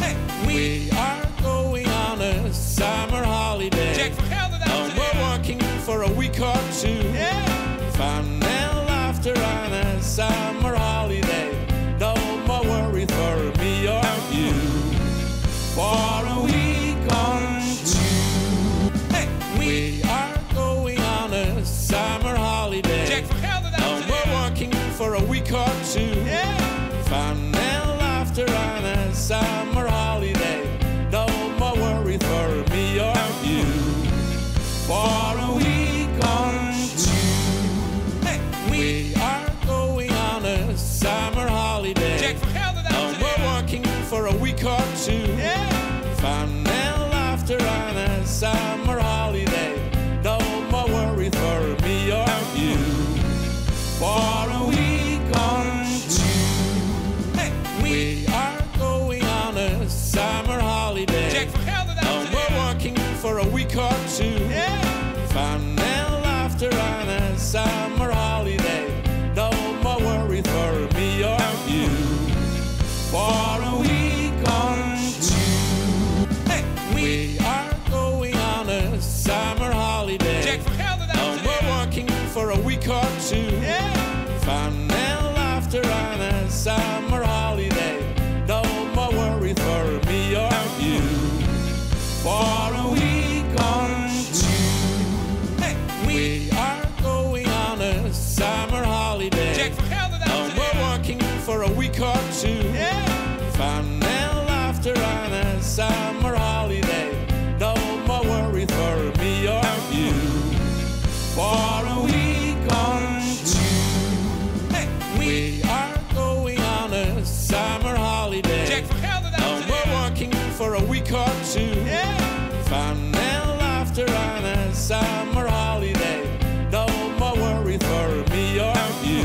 Speaker 2: Hey, we
Speaker 1: we are going on a summer holiday.
Speaker 2: Jack, for hell that
Speaker 1: Oh,
Speaker 2: out
Speaker 1: we're
Speaker 2: today.
Speaker 1: working for a week or two.
Speaker 2: Yeah.
Speaker 1: Fun and laughter on a summer holiday. No more worry for me or you. For a week or two,
Speaker 2: Hey, we
Speaker 1: we are going on a summer holiday.
Speaker 2: Jack, for hell that out
Speaker 1: Oh, we're
Speaker 2: today.
Speaker 1: working for a week or two.
Speaker 2: Yeah.
Speaker 1: Fun and laughter on a summer holiday. No more worry for me or you. For a week or two.
Speaker 2: Hey, we
Speaker 1: We are going on a summer holiday.
Speaker 2: Jack, for hell that
Speaker 1: Oh,
Speaker 2: out today.
Speaker 1: we're working for a week or two.
Speaker 2: Yeah.
Speaker 1: Fun and laughter on a summer holiday. No more worry for me or you. For a week or two,
Speaker 2: Hey, we
Speaker 1: we are going on a summer holiday.
Speaker 2: Jack, for hell that out
Speaker 1: Oh, we're
Speaker 2: today.
Speaker 1: working for a week or two.
Speaker 2: Yeah.
Speaker 1: Fun and laughter on a summer holiday. No more worry for me or you. For a week or two,
Speaker 2: Hey, we
Speaker 1: we are going on a summer holiday.
Speaker 2: Jack, for hell that
Speaker 1: Oh,
Speaker 2: out
Speaker 1: we're
Speaker 2: today.
Speaker 1: working for a week or two. Fun and laughter on a summer holiday. No more worry for me or you. For a week or two. We are going on a summer holiday. Oh, we're working for
Speaker 2: Yeah. Hey, we Jack, for hell that out today.
Speaker 1: a week or two.
Speaker 2: Yeah.
Speaker 1: Fun and laughter on a summer holiday. No more worry for me or you. For a week or two,
Speaker 2: Hey, we
Speaker 1: we are going on a summer holiday.
Speaker 2: Jack, for hell that out
Speaker 1: Oh, we're
Speaker 2: today.
Speaker 1: working for a week or two.
Speaker 2: Yeah.
Speaker 1: Fun and laughter on a summer holiday. No more worry for me or you.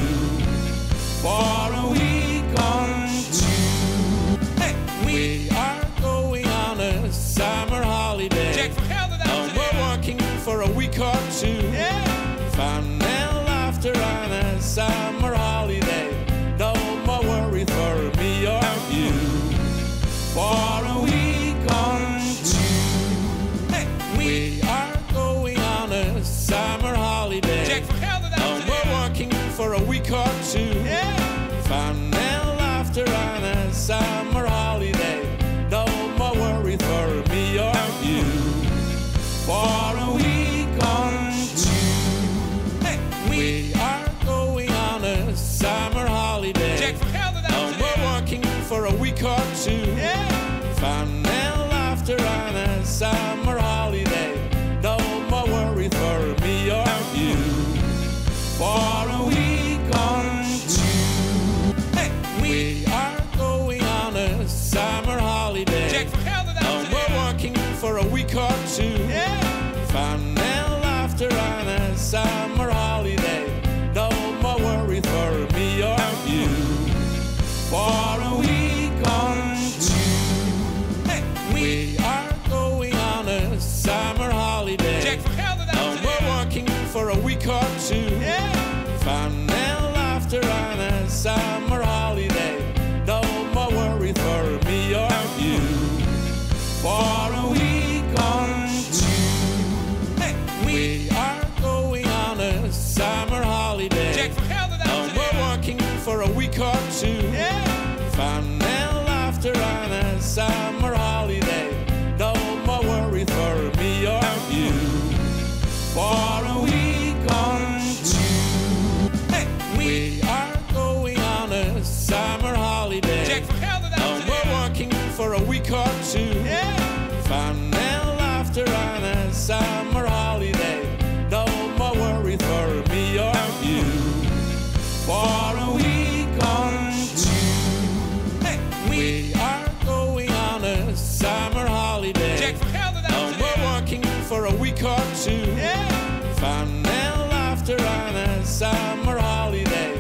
Speaker 1: For a week or two,
Speaker 2: Hey, we
Speaker 1: we are going on a summer holiday.
Speaker 2: Jack, for hell that out
Speaker 1: Oh, we're
Speaker 2: today.
Speaker 1: working for a week or two.
Speaker 2: Yeah.
Speaker 1: Fun and laughter on a summer holiday. No more worry for me or you. For a week or two.
Speaker 2: Hey,
Speaker 1: week or two.
Speaker 2: Yeah.
Speaker 1: Fun and laughter on a summer holiday. No more worry for me or you. For a week or two,
Speaker 2: Hey, we.
Speaker 1: we are going on a summer holiday.
Speaker 2: Jack from hell to that
Speaker 1: no
Speaker 2: today.
Speaker 1: more working for a week or two.
Speaker 2: Yeah.
Speaker 1: Fun and laughter on a summer holiday. No more worry for me or you. For a week or two.
Speaker 2: Hey, we.
Speaker 1: We are going on a summer holiday.
Speaker 2: Jack from hell to
Speaker 1: No
Speaker 2: that
Speaker 1: more
Speaker 2: today.
Speaker 1: working for a week or two.
Speaker 2: Yeah.
Speaker 1: Fun and laughter on a summer holiday. No more worry for me or you. For a week or two.
Speaker 2: Hey, we.
Speaker 1: We are going on a summer holiday.
Speaker 2: Jack from hell to
Speaker 1: no
Speaker 2: that
Speaker 1: more
Speaker 2: today.
Speaker 1: working for a week or two.
Speaker 2: Yeah.
Speaker 1: Fun and laughter on a summer holiday. No more worry for me or you. For a week or two,
Speaker 2: Hey, we.
Speaker 1: we are going on a summer holiday.
Speaker 2: Jack from hell to
Speaker 1: no
Speaker 2: that
Speaker 1: more
Speaker 2: today.
Speaker 1: working for a week or two.
Speaker 2: Yeah.
Speaker 1: Fun and laughter on a summer holiday.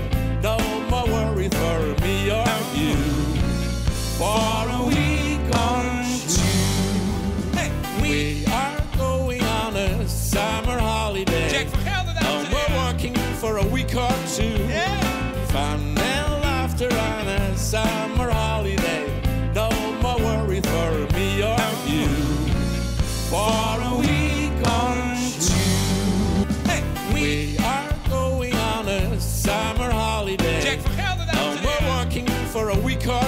Speaker 1: No more worry for me or you. For a week or two.
Speaker 2: Hey, we.
Speaker 1: We are going on a summer holiday.
Speaker 2: Jack from hell to
Speaker 1: no
Speaker 2: that
Speaker 1: more
Speaker 2: today.
Speaker 1: working for a week or two.
Speaker 2: Yeah.
Speaker 1: Fun and laughter on a summer holiday. No more worry for me or you. For a week or two.
Speaker 2: Hey, we.
Speaker 1: We are going on a summer holiday.
Speaker 2: Jack from hell to
Speaker 1: no
Speaker 2: that
Speaker 1: more
Speaker 2: today.
Speaker 1: working for a week or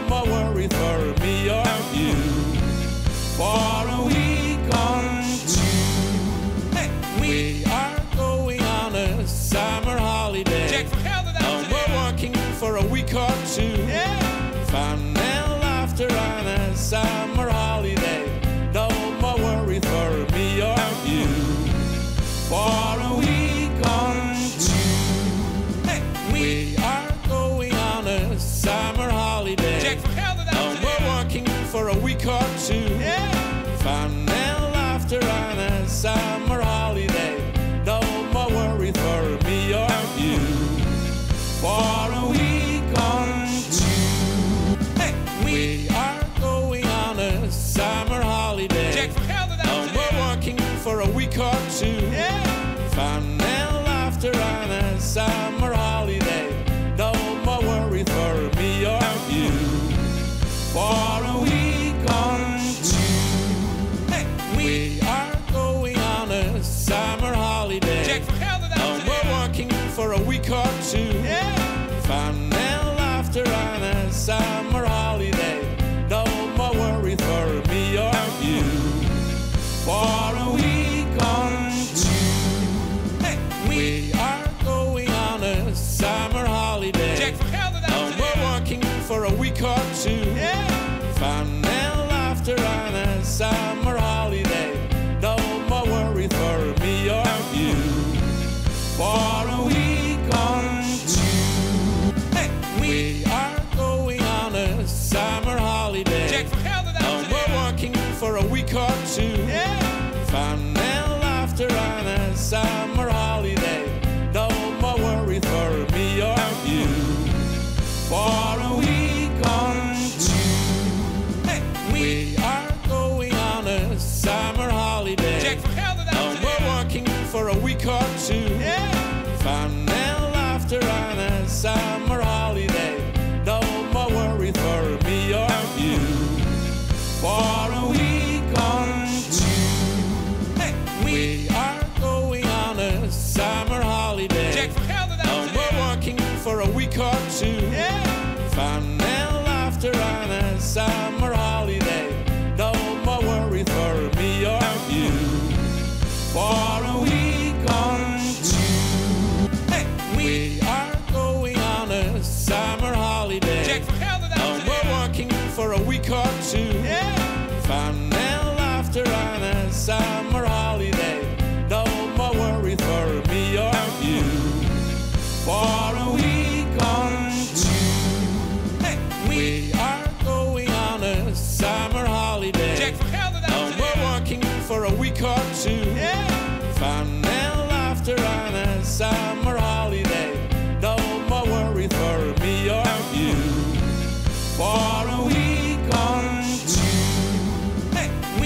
Speaker 1: two.
Speaker 2: Yeah.
Speaker 1: Fun and laughter on a summer holiday. No more worry for me or you. For a week or two,
Speaker 2: Hey,
Speaker 1: we are
Speaker 2: we.
Speaker 1: going on a summer holiday.
Speaker 2: Jack from hell to
Speaker 1: no
Speaker 2: that
Speaker 1: more working for
Speaker 2: today.
Speaker 1: a week or two.
Speaker 2: Yeah.
Speaker 1: Fun and laughter on a summer holiday. No more worry for me or you. For a week or two.
Speaker 2: Hey, we.
Speaker 1: We are going on a summer holiday.
Speaker 2: Jack from hell to
Speaker 1: no
Speaker 2: that
Speaker 1: more
Speaker 2: today.
Speaker 1: working for a week or two. Fun and laughter on a summer holiday. No more worry for me or you. For a week or two, we are going on a summer holiday. no more working for a
Speaker 2: Yeah. Hey, we. Jack from hell to that today.
Speaker 1: week or two.
Speaker 2: Yeah.
Speaker 1: Fun and laughter on a summer holiday. No more worry for me or you. For a week or two,
Speaker 2: Hey, we.
Speaker 1: we are going on a summer holiday.
Speaker 2: Jack from hell to
Speaker 1: no
Speaker 2: that
Speaker 1: more
Speaker 2: today.
Speaker 1: working for a week or two.
Speaker 2: Yeah.
Speaker 1: Fun and laughter on a summer holiday. No more worry for me or you. For a week or two.
Speaker 2: Hey, we.
Speaker 1: We are going on a summer holiday.
Speaker 2: Jack from hell to
Speaker 1: no
Speaker 2: that
Speaker 1: more
Speaker 2: today.
Speaker 1: working for a week or two.
Speaker 2: Yeah.
Speaker 1: Fun and laughter on a summer holiday. No more worry for me or you. For a week or two,
Speaker 2: Hey, we.
Speaker 1: we are going on a summer holiday.
Speaker 2: Jack from hell to
Speaker 1: no
Speaker 2: that
Speaker 1: more
Speaker 2: today.
Speaker 1: working for a week or two.
Speaker 2: Yeah.
Speaker 1: Fun and laughter on a summer holiday. No more worry for me or you. For a week or two,
Speaker 2: Hey, we.
Speaker 1: we are going on a summer holiday.
Speaker 2: Jack from hell to
Speaker 1: no more
Speaker 2: that today.
Speaker 1: working for a week or two.
Speaker 2: Yeah.
Speaker 1: Fun and laughter on a summer holiday. No more worry for me or you. For a week or two.
Speaker 2: Hey, we.
Speaker 1: We are going on a summer holiday.
Speaker 2: Jack from hell to
Speaker 1: no
Speaker 2: that
Speaker 1: more
Speaker 2: today.
Speaker 1: working for a week or two.
Speaker 2: Yeah.
Speaker 1: Fun and laughter on a summer holiday. No more worry for me or you. For a week or two,
Speaker 2: Hey, we.
Speaker 1: we are going on a summer holiday.
Speaker 2: Jack from hell to
Speaker 1: no
Speaker 2: that
Speaker 1: more
Speaker 2: today.
Speaker 1: working for a week or two.
Speaker 2: Yeah.
Speaker 1: Fun and laughter on a summer holiday. No more worry for me or you. For a week or two,
Speaker 2: Hey,
Speaker 1: Oh, Oh,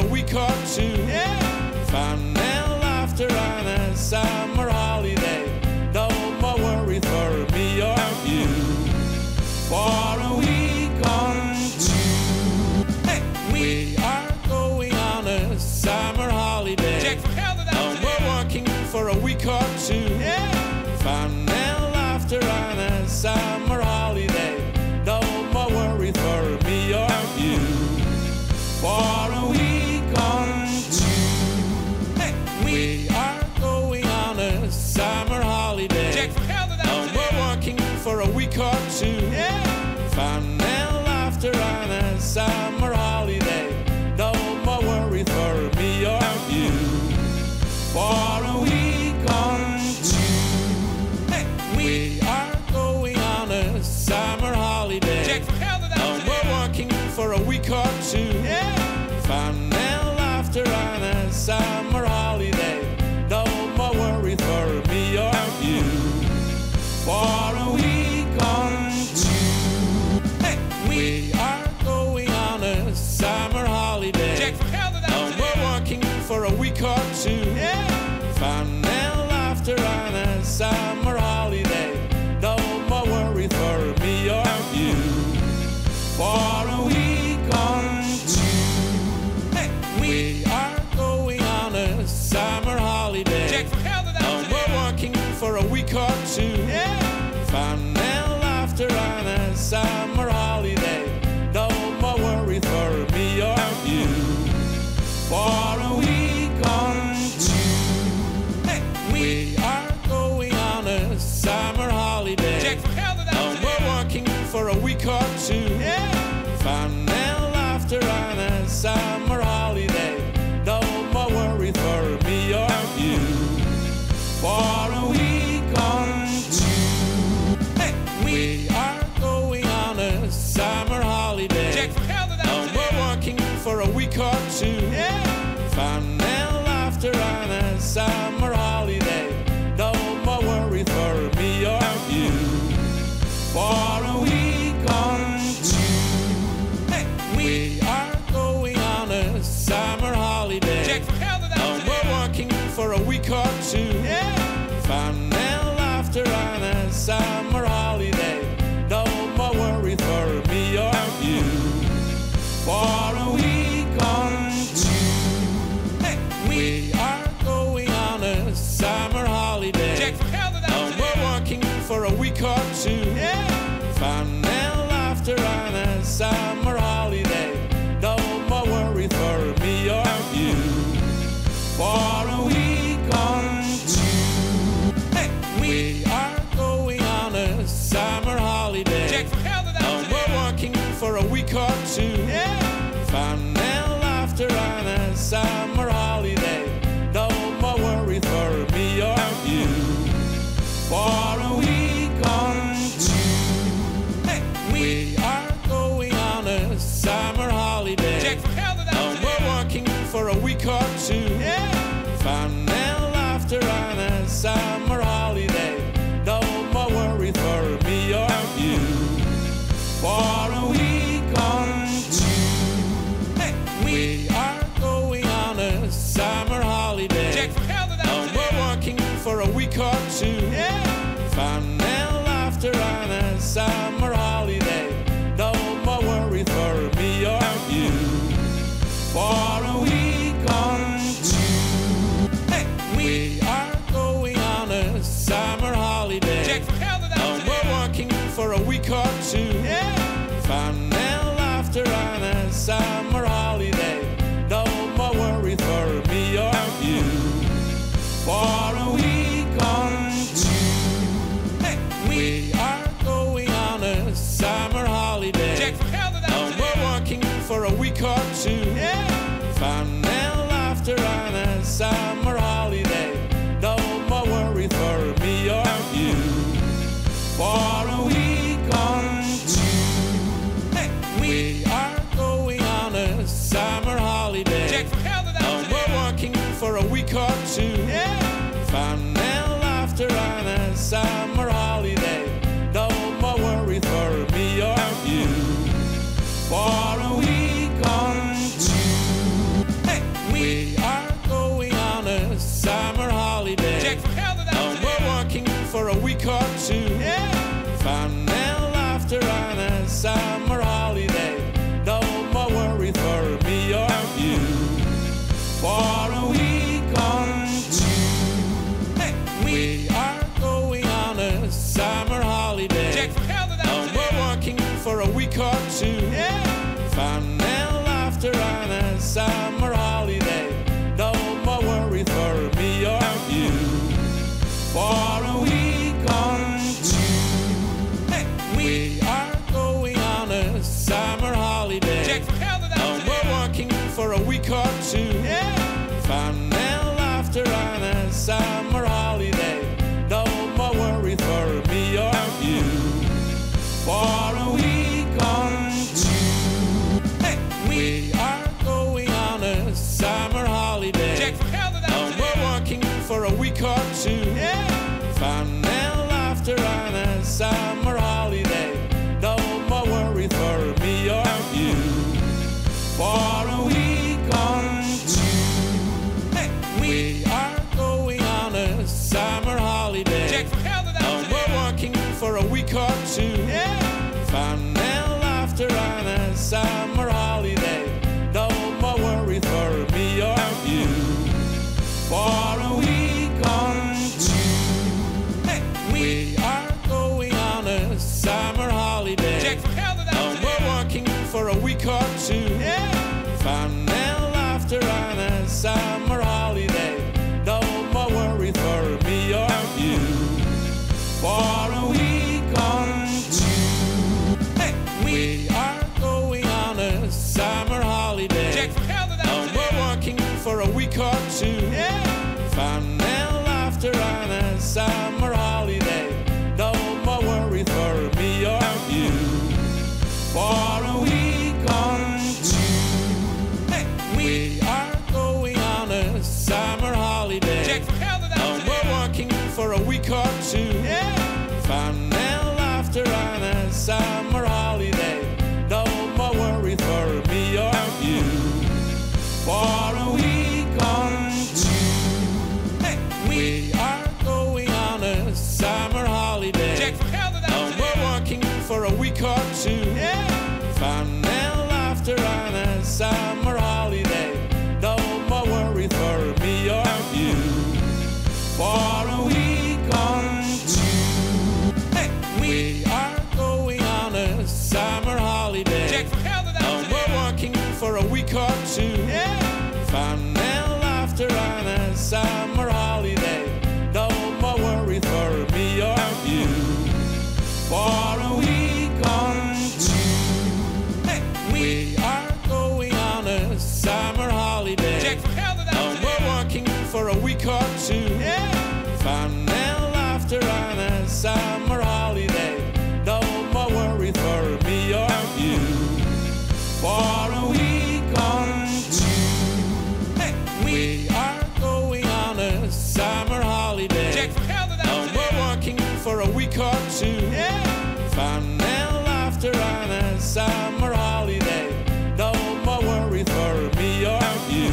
Speaker 1: a week or two.
Speaker 2: Yeah.
Speaker 1: Fun and laughter on a summer holiday. No more worry for me or you. For a week or two,
Speaker 2: Hey, we
Speaker 1: we are going on a summer holiday.
Speaker 2: check from hell to
Speaker 1: No more
Speaker 2: that.
Speaker 1: working for a week or two.
Speaker 2: Yeah.
Speaker 1: Fun and laughter on a summer holiday. No more worry for me or you. For a week or two,
Speaker 2: Hey, we
Speaker 1: we are going on a summer holiday.
Speaker 2: check from hell to
Speaker 1: No more
Speaker 2: that.
Speaker 1: working for a week or two.
Speaker 2: Yeah.
Speaker 1: Fun and laughter on a summer holiday. No more worry for me or you. For a week or two,
Speaker 2: Hey, we
Speaker 1: we are going on a summer holiday.
Speaker 2: check from hell to
Speaker 1: No more
Speaker 2: that.
Speaker 1: working for a week or two.
Speaker 2: Yeah.
Speaker 1: Fun and laughter on a summer holiday. No more worry for me or you. For a week or two.
Speaker 2: Hey, we
Speaker 1: We are going on a summer holiday.
Speaker 2: check from hell to
Speaker 1: No more
Speaker 2: that.
Speaker 1: working for a week or two.
Speaker 2: Yeah.
Speaker 1: Fun and laughter on a summer holiday. No more worry for me or you. For a week or two,
Speaker 2: Hey, we
Speaker 1: we are going on a summer holiday.
Speaker 2: check from hell to
Speaker 1: No more
Speaker 2: that.
Speaker 1: working for a week or two.
Speaker 2: Yeah.
Speaker 1: Fun and laughter on a summer holiday. No more worry for me or you. For a week or two,
Speaker 2: Hey, we
Speaker 1: we are going on a summer holiday.
Speaker 2: check from hell to
Speaker 1: No
Speaker 2: that.
Speaker 1: more working for a week or two.
Speaker 2: Yeah.
Speaker 1: Fun and laughter on a summer holiday. No more worry for me or you. For a week or two,
Speaker 2: Hey, we
Speaker 1: we are going on a summer holiday.
Speaker 2: check from hell to
Speaker 1: No more
Speaker 2: that.
Speaker 1: working for a week or two.
Speaker 2: Yeah.
Speaker 1: Fun and laughter on a summer holiday. No more worry for me or you. For a week or two,
Speaker 2: Hey, we
Speaker 1: we are going on a summer holiday.
Speaker 2: check from hell to
Speaker 1: No more
Speaker 2: that.
Speaker 1: working for a week or two.
Speaker 2: Yeah.
Speaker 1: Fun and laughter on a summer holiday. No more worry for me or you. For a week or two,
Speaker 2: Hey, we
Speaker 1: we are going on a summer holiday.
Speaker 2: check from hell to
Speaker 1: No more
Speaker 2: that.
Speaker 1: working for a week or two.
Speaker 2: Yeah.
Speaker 1: Fun and laughter on a summer holiday. No more worry for me or you. For a week or two,
Speaker 2: Hey, we
Speaker 1: we are going on a summer holiday.
Speaker 2: check from hell to
Speaker 1: No
Speaker 2: that.
Speaker 1: more working for a week or two.
Speaker 2: Yeah.
Speaker 1: Fun and laughter on a summer holiday. No more worry for me or you. For a week or two,
Speaker 2: Hey, we
Speaker 1: we are going on a summer holiday.
Speaker 2: check from hell to
Speaker 1: No
Speaker 2: that.
Speaker 1: more working for a week or two.
Speaker 2: Yeah.
Speaker 1: Fun and laughter on a summer holiday. No more worry for me or you. For a week or two,
Speaker 2: Hey, we
Speaker 1: we are going on a summer holiday.
Speaker 2: check from hell to
Speaker 1: No
Speaker 2: that.
Speaker 1: more working for a week or two.
Speaker 2: Yeah.
Speaker 1: Fun and laughter on a summer holiday. No more worry for me or you. For a week or two,
Speaker 2: Hey, we
Speaker 1: we are going on a summer holiday.
Speaker 2: check from hell to
Speaker 1: No
Speaker 2: that.
Speaker 1: more working for a week or two.
Speaker 2: Yeah.
Speaker 1: Fun and laughter on a summer holiday. No more worry for me or you. For a week or two,
Speaker 2: Hey, we
Speaker 1: we are going on a summer holiday.
Speaker 2: check from hell to
Speaker 1: No
Speaker 2: that.
Speaker 1: more working for a week or two.
Speaker 2: Yeah.
Speaker 1: Fun and laughter on a summer holiday. No more worry for me or you. For a week or two,
Speaker 2: Hey, we
Speaker 1: we are going on a summer holiday.
Speaker 2: check from hell to
Speaker 1: No
Speaker 2: that.
Speaker 1: more working for a week or two.
Speaker 2: Yeah.
Speaker 1: Fun and laughter on a summer holiday. No more worry for me or you. For a week or two,
Speaker 2: Hey,
Speaker 1: or two. Fun and laughter on a summer holiday. No more worry for me or you. For a week or two, we are going on a summer holiday.
Speaker 2: Jack van Gelder,
Speaker 1: No
Speaker 2: dames en
Speaker 1: more
Speaker 2: heren.
Speaker 1: working for a week or two. Fun and laughter on a summer holiday. No more worry for me or you. For a week or two, we are going on a summer holiday.
Speaker 2: Jack van Gelder,
Speaker 1: No
Speaker 2: dames en
Speaker 1: more
Speaker 2: heren.
Speaker 1: working for a week or two. Fun and laughter on a summer holiday. No more worry for me or you. For a week or two, we are going on a summer holiday.
Speaker 2: Jack van Gelder,
Speaker 1: No
Speaker 2: dames en
Speaker 1: more
Speaker 2: heren.
Speaker 1: working for a week or two. Fun and laughter on a summer holiday. No more worry for me or you. For a week or two, we are going on a summer
Speaker 2: Jack
Speaker 1: holiday.
Speaker 2: van Gelder,
Speaker 1: No
Speaker 2: dames en
Speaker 1: more
Speaker 2: heren.
Speaker 1: working for a week or two. Fun and laughter on a summer holiday. No more worry for me or you. For a week or two, we are going on a summer
Speaker 2: Jack
Speaker 1: holiday.
Speaker 2: van Gelder,
Speaker 1: No
Speaker 2: dames en
Speaker 1: more
Speaker 2: heren.
Speaker 1: working for a week or two. Fun and laughter on a summer holiday. No more worry for me or you. For a week or two, we are going on a summer holiday.
Speaker 2: Jack van Gelder,
Speaker 1: No
Speaker 2: dames en
Speaker 1: more
Speaker 2: heren.
Speaker 1: working for a week or two. Fun and laughter on a summer holiday. No more worry for me or you. For a week or two, we are going on a summer holiday.
Speaker 2: Jack van Gelder,
Speaker 1: No
Speaker 2: dames en
Speaker 1: more
Speaker 2: heren.
Speaker 1: working for a week or two. Fun and laughter on a summer holiday. No more worry for me or you. For a week or two, we are going on a summer holiday.
Speaker 2: Jack van Gelder,
Speaker 1: No
Speaker 2: dames en
Speaker 1: more
Speaker 2: heren.
Speaker 1: working for a week or two. Fun and laughter on a summer holiday. No more worry for me or you.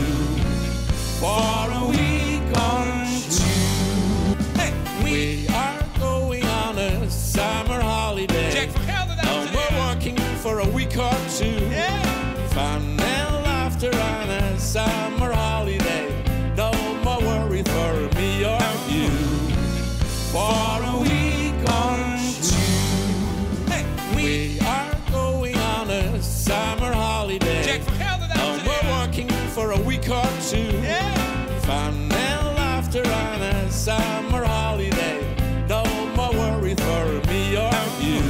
Speaker 1: For a week or two, we are going on a summer holiday.
Speaker 2: Jack van Gelder,
Speaker 1: No
Speaker 2: dames en
Speaker 1: more
Speaker 2: heren.
Speaker 1: working for a week or two. Fun and laughter on a summer holiday. No more worry for me or you. For a week or two, we are going on a summer holiday.
Speaker 2: Jack van Gelder,
Speaker 1: No
Speaker 2: dames en
Speaker 1: more
Speaker 2: heren.
Speaker 1: working for a week or two. Fun and laughter on a summer holiday. No more worry for me or you.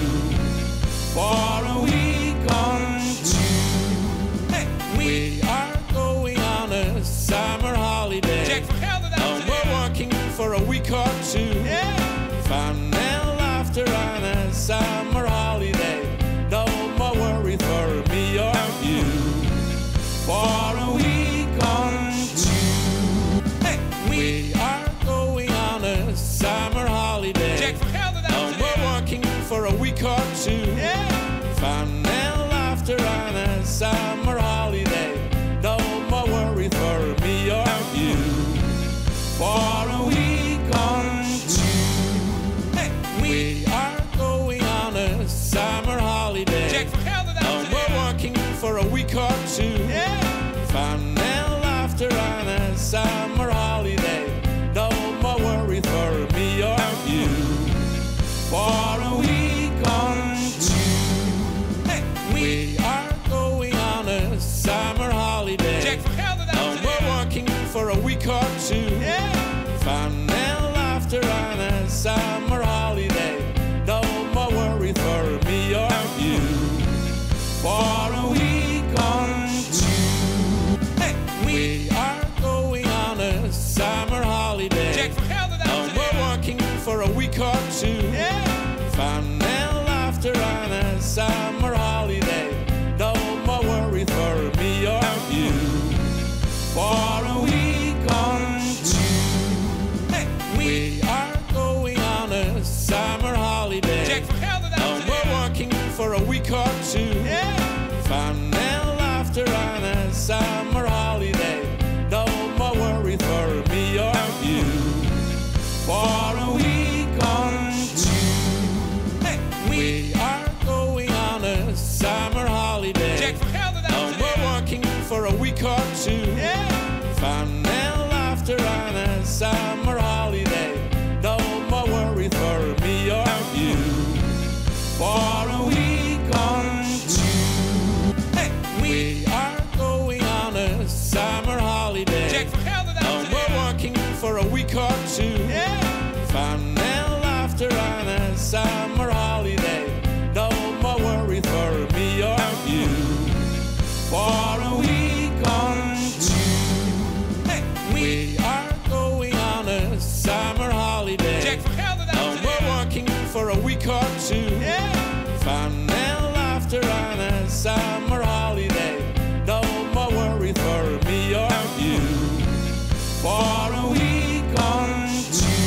Speaker 1: For a week or two, we are going on a summer holiday.
Speaker 2: Jack van Gelder,
Speaker 1: No
Speaker 2: dames en
Speaker 1: more
Speaker 2: heren.
Speaker 1: working for a week or two. Fun and laughter on a summer holiday. No more worry for me or you. For a week or two, we are going on a summer holiday.
Speaker 2: Jack van Gelder,
Speaker 1: No
Speaker 2: dames en
Speaker 1: more
Speaker 2: heren.
Speaker 1: working for a week or two. Fun and laughter on a summer holiday. No more worry for me or you. For a week or two. We are going on a summer holiday.
Speaker 2: Jack, from hell to the
Speaker 1: And we're
Speaker 2: house
Speaker 1: working for a week or two.
Speaker 2: Yeah.
Speaker 1: Fun and laughter on a summer holiday. No more worry for me or you. For a week or two.
Speaker 2: Hey.
Speaker 1: We are going on a summer holiday.
Speaker 2: Jack, from hell to the
Speaker 1: And we're
Speaker 2: house
Speaker 1: working for a week or two.
Speaker 2: Yeah.
Speaker 1: Fun and laughter on a summer holiday. No more worry for me or you. For a week or two,
Speaker 2: Hey.
Speaker 1: we are going on a summer holiday.
Speaker 2: Jack, from hell to the
Speaker 1: No more
Speaker 2: house
Speaker 1: working for a week or two.
Speaker 2: Yeah.
Speaker 1: Fun and laughter on a summer holiday. No more worry for me or you. For a week or two,
Speaker 2: Hey.
Speaker 1: we are going on a summer holiday.
Speaker 2: Jack, from hell to the
Speaker 1: No more
Speaker 2: house
Speaker 1: working for a week or two.
Speaker 2: Yeah.
Speaker 1: Fun and laughter on a summer holiday. No more worry for me or you. For a week or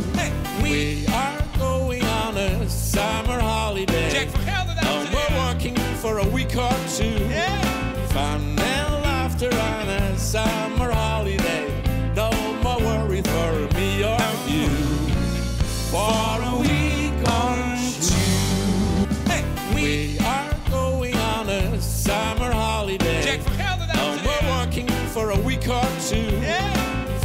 Speaker 2: Hey.
Speaker 1: two, we are going on a summer holiday.
Speaker 2: Jack, from hell to the
Speaker 1: No more
Speaker 2: house
Speaker 1: working for a week or two.
Speaker 2: Yeah.
Speaker 1: Fun and laughter on a summer holiday. No more worry for me or you. For a week or
Speaker 2: Hey.
Speaker 1: we are going on a summer holiday.
Speaker 2: Jack, from hell to the
Speaker 1: and we're
Speaker 2: house
Speaker 1: working for a week or two.
Speaker 2: Yeah.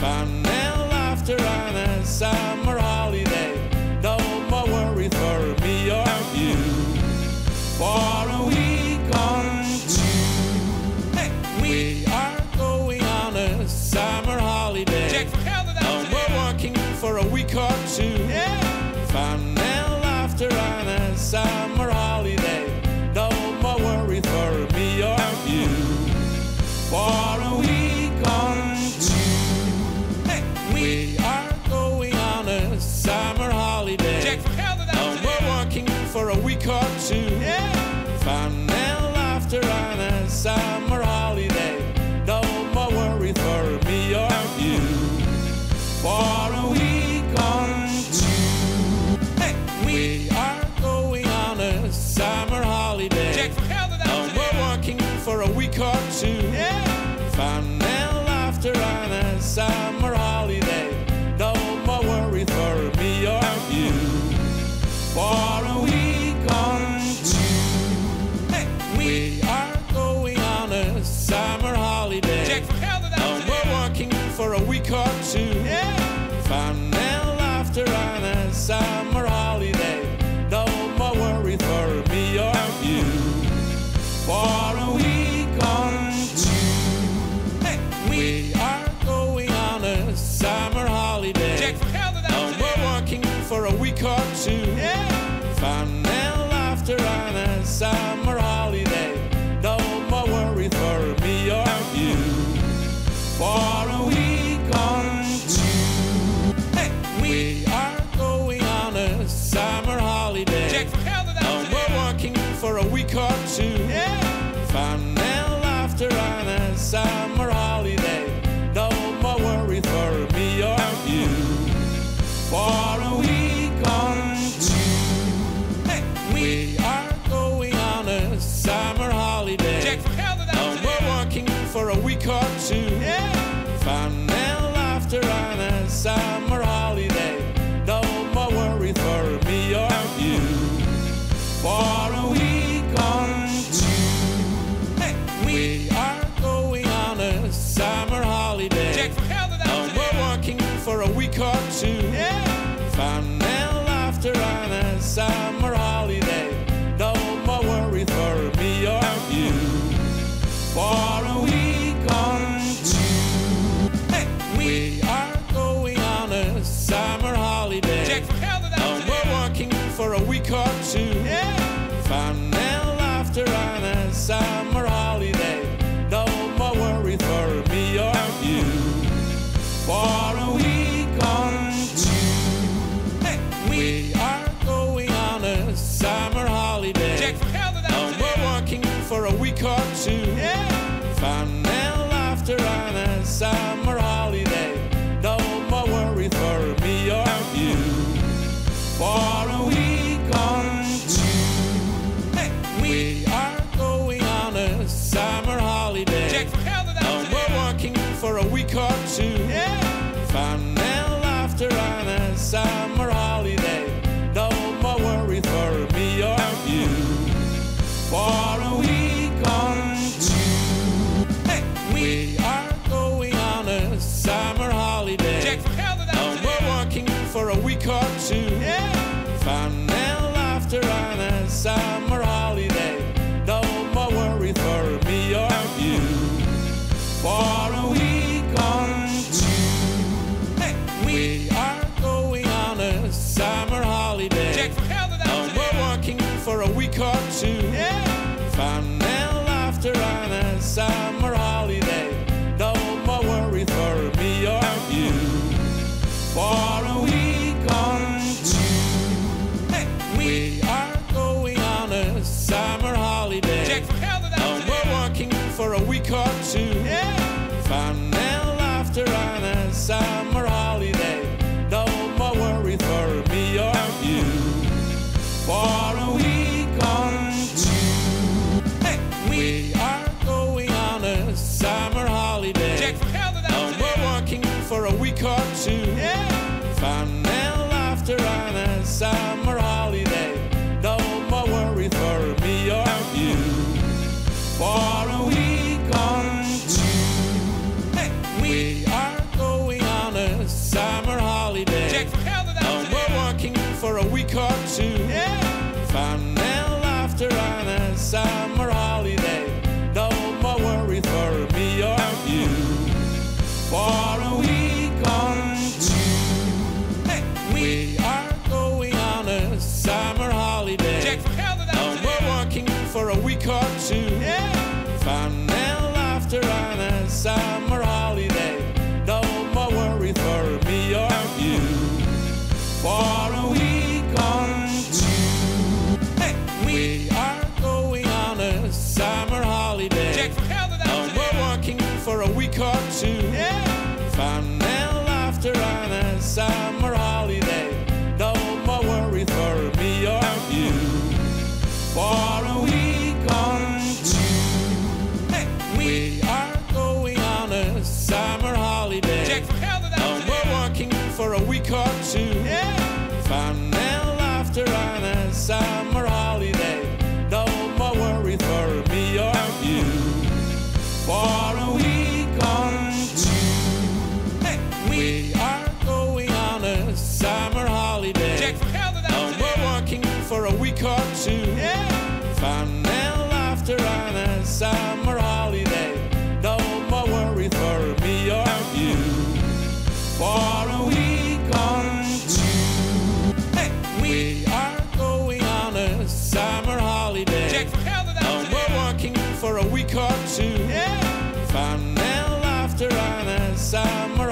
Speaker 1: Fun and laughter on a summer holiday. No more worry for me or you. For a week or two,
Speaker 2: Hey.
Speaker 1: we are going on a summer holiday.
Speaker 2: Jack, from hell to the
Speaker 1: and we're
Speaker 2: house
Speaker 1: working for a week or two.
Speaker 2: Yeah.
Speaker 1: Fun and laughter on a summer holiday. No more worry for me or you. For a week or
Speaker 2: Hey.
Speaker 1: two, we are going on a summer holiday.
Speaker 2: Jack, from hell to the
Speaker 1: and we're
Speaker 2: house
Speaker 1: working for a week or two.
Speaker 2: Yeah.
Speaker 1: Fun and laughter on a summer holiday. No more worry for me or you. For a week or
Speaker 2: Hey.
Speaker 1: we are going on a summer holiday.
Speaker 2: Jack, from hell to the
Speaker 1: and we're
Speaker 2: house
Speaker 1: working for a week or two.
Speaker 2: Yeah.
Speaker 1: Fun and laughter on a summer holiday. No more worry for me or you. For a week or two,
Speaker 2: Hey.
Speaker 1: we are going on a summer holiday.
Speaker 2: Jack, from hell to the
Speaker 1: and we're
Speaker 2: house
Speaker 1: working for a week or two.
Speaker 2: Yeah.
Speaker 1: Fun and laughter on a summer holiday. No more worry for me or you. For a week or two,
Speaker 2: Hey.
Speaker 1: we are going on a summer holiday.
Speaker 2: Jack, from hell to the
Speaker 1: and
Speaker 2: house
Speaker 1: we're working for a week or two.
Speaker 2: Yeah.
Speaker 1: Fun and laughter on a summer holiday. No more worry for me or you. For a week or two.
Speaker 2: Hey.
Speaker 1: We are going on a summer holiday.
Speaker 2: Jack, from hell to the
Speaker 1: and we're
Speaker 2: house
Speaker 1: working for a week or two.
Speaker 2: Yeah.
Speaker 1: Fun and laughter on a summer holiday. No more worry for me or you. For a week or two,
Speaker 2: Hey.
Speaker 1: we are going on a summer holiday.
Speaker 2: Jack, from hell to the
Speaker 1: and we're
Speaker 2: house
Speaker 1: working for a week or two.
Speaker 2: Yeah.
Speaker 1: Fun and laughter on a summer holiday. No more worry for me or you. For a week or two,
Speaker 2: Hey.
Speaker 1: we are going on a summer holiday.
Speaker 2: Jack, from hell to the
Speaker 1: and we're
Speaker 2: house
Speaker 1: working for a week or two.
Speaker 2: Yeah.
Speaker 1: Fun and laughter on a summer holiday. No more worry for me or you. For a week or two.
Speaker 2: Hey.
Speaker 1: We are going on a summer holiday.
Speaker 2: Jack, from hell to the
Speaker 1: and we're
Speaker 2: house
Speaker 1: working for a week or two.
Speaker 2: Yeah.
Speaker 1: Fun and laughter on a summer holiday. No more worry for me or you. For a week or two,
Speaker 2: Hey.
Speaker 1: laughter on a summer holiday. No more worry for me or you. For a week or two,
Speaker 2: Hey,
Speaker 1: we are going on a summer holiday.
Speaker 2: Jack, from hell to
Speaker 1: No more
Speaker 2: that
Speaker 1: working for a week or two.
Speaker 2: Yeah.
Speaker 1: Fun and laughter on a summer holiday. No more worry for me or you. For a week or two,
Speaker 2: Hey, we.
Speaker 1: we are going on a summer holiday.
Speaker 2: Jack, from hell to
Speaker 1: no more
Speaker 2: that
Speaker 1: working for a week or two.
Speaker 2: Yeah.
Speaker 1: Fun and laughter on a summer holiday. No more worry for me or you. For a week or two.
Speaker 2: Hey, we.
Speaker 1: We are going on a summer holiday.
Speaker 2: Jack, from hell to
Speaker 1: no more
Speaker 2: that
Speaker 1: working for a week or two.
Speaker 2: Yeah.
Speaker 1: Fun and laughter on a summer holiday. No more worry for me or you. For a week or two,
Speaker 2: Hey, we.
Speaker 1: we are going on a summer holiday.
Speaker 2: Jack, from hell to
Speaker 1: no more
Speaker 2: that
Speaker 1: working for a week or two.
Speaker 2: Yeah.
Speaker 1: Fun and laughter on a summer holiday. No more worry for me or you. For a week or two,
Speaker 2: Hey, we.
Speaker 1: we are going on a summer holiday.
Speaker 2: Jack, from hell to
Speaker 1: no
Speaker 2: that
Speaker 1: more working for a week or two.
Speaker 2: Yeah.
Speaker 1: Fun and laughter on a summer holiday. No more worry for me or you. For a week or two.
Speaker 2: Hey, we.
Speaker 1: We are going on a summer holiday.
Speaker 2: Jack, from hell to
Speaker 1: no
Speaker 2: that
Speaker 1: more working for a week or two.
Speaker 2: Yeah.
Speaker 1: Fun and laughter on a summer holiday. No more worry for me or you. For a week or two,
Speaker 2: Hey, we.
Speaker 1: we are going on a summer holiday.
Speaker 2: Jack, from hell to
Speaker 1: no
Speaker 2: that
Speaker 1: more working for a week or two.
Speaker 2: Yeah.
Speaker 1: Fun and laughter on a summer holiday. No more worry for me or you. For a week or two,
Speaker 2: Hey, we.
Speaker 1: we are going on a summer holiday.
Speaker 2: Jack, from hell to
Speaker 1: no
Speaker 2: that
Speaker 1: more working for a week or two.
Speaker 2: Yeah.
Speaker 1: Fun and laughter on a summer holiday. No more worry for me or you. For a week or two.
Speaker 2: Hey, we.
Speaker 1: We are going on a summer holiday.
Speaker 2: Jack, from hell to
Speaker 1: no
Speaker 2: that
Speaker 1: more working for a week or two.
Speaker 2: Yeah.
Speaker 1: Fun and laughter on a summer holiday. No more worry for me or you. For a week or two,
Speaker 2: Hey, we.
Speaker 1: we are going on a summer holiday.
Speaker 2: Jack, from hell to
Speaker 1: no
Speaker 2: that
Speaker 1: more working for a week or two.
Speaker 2: Yeah.
Speaker 1: Fun and laughter on a summer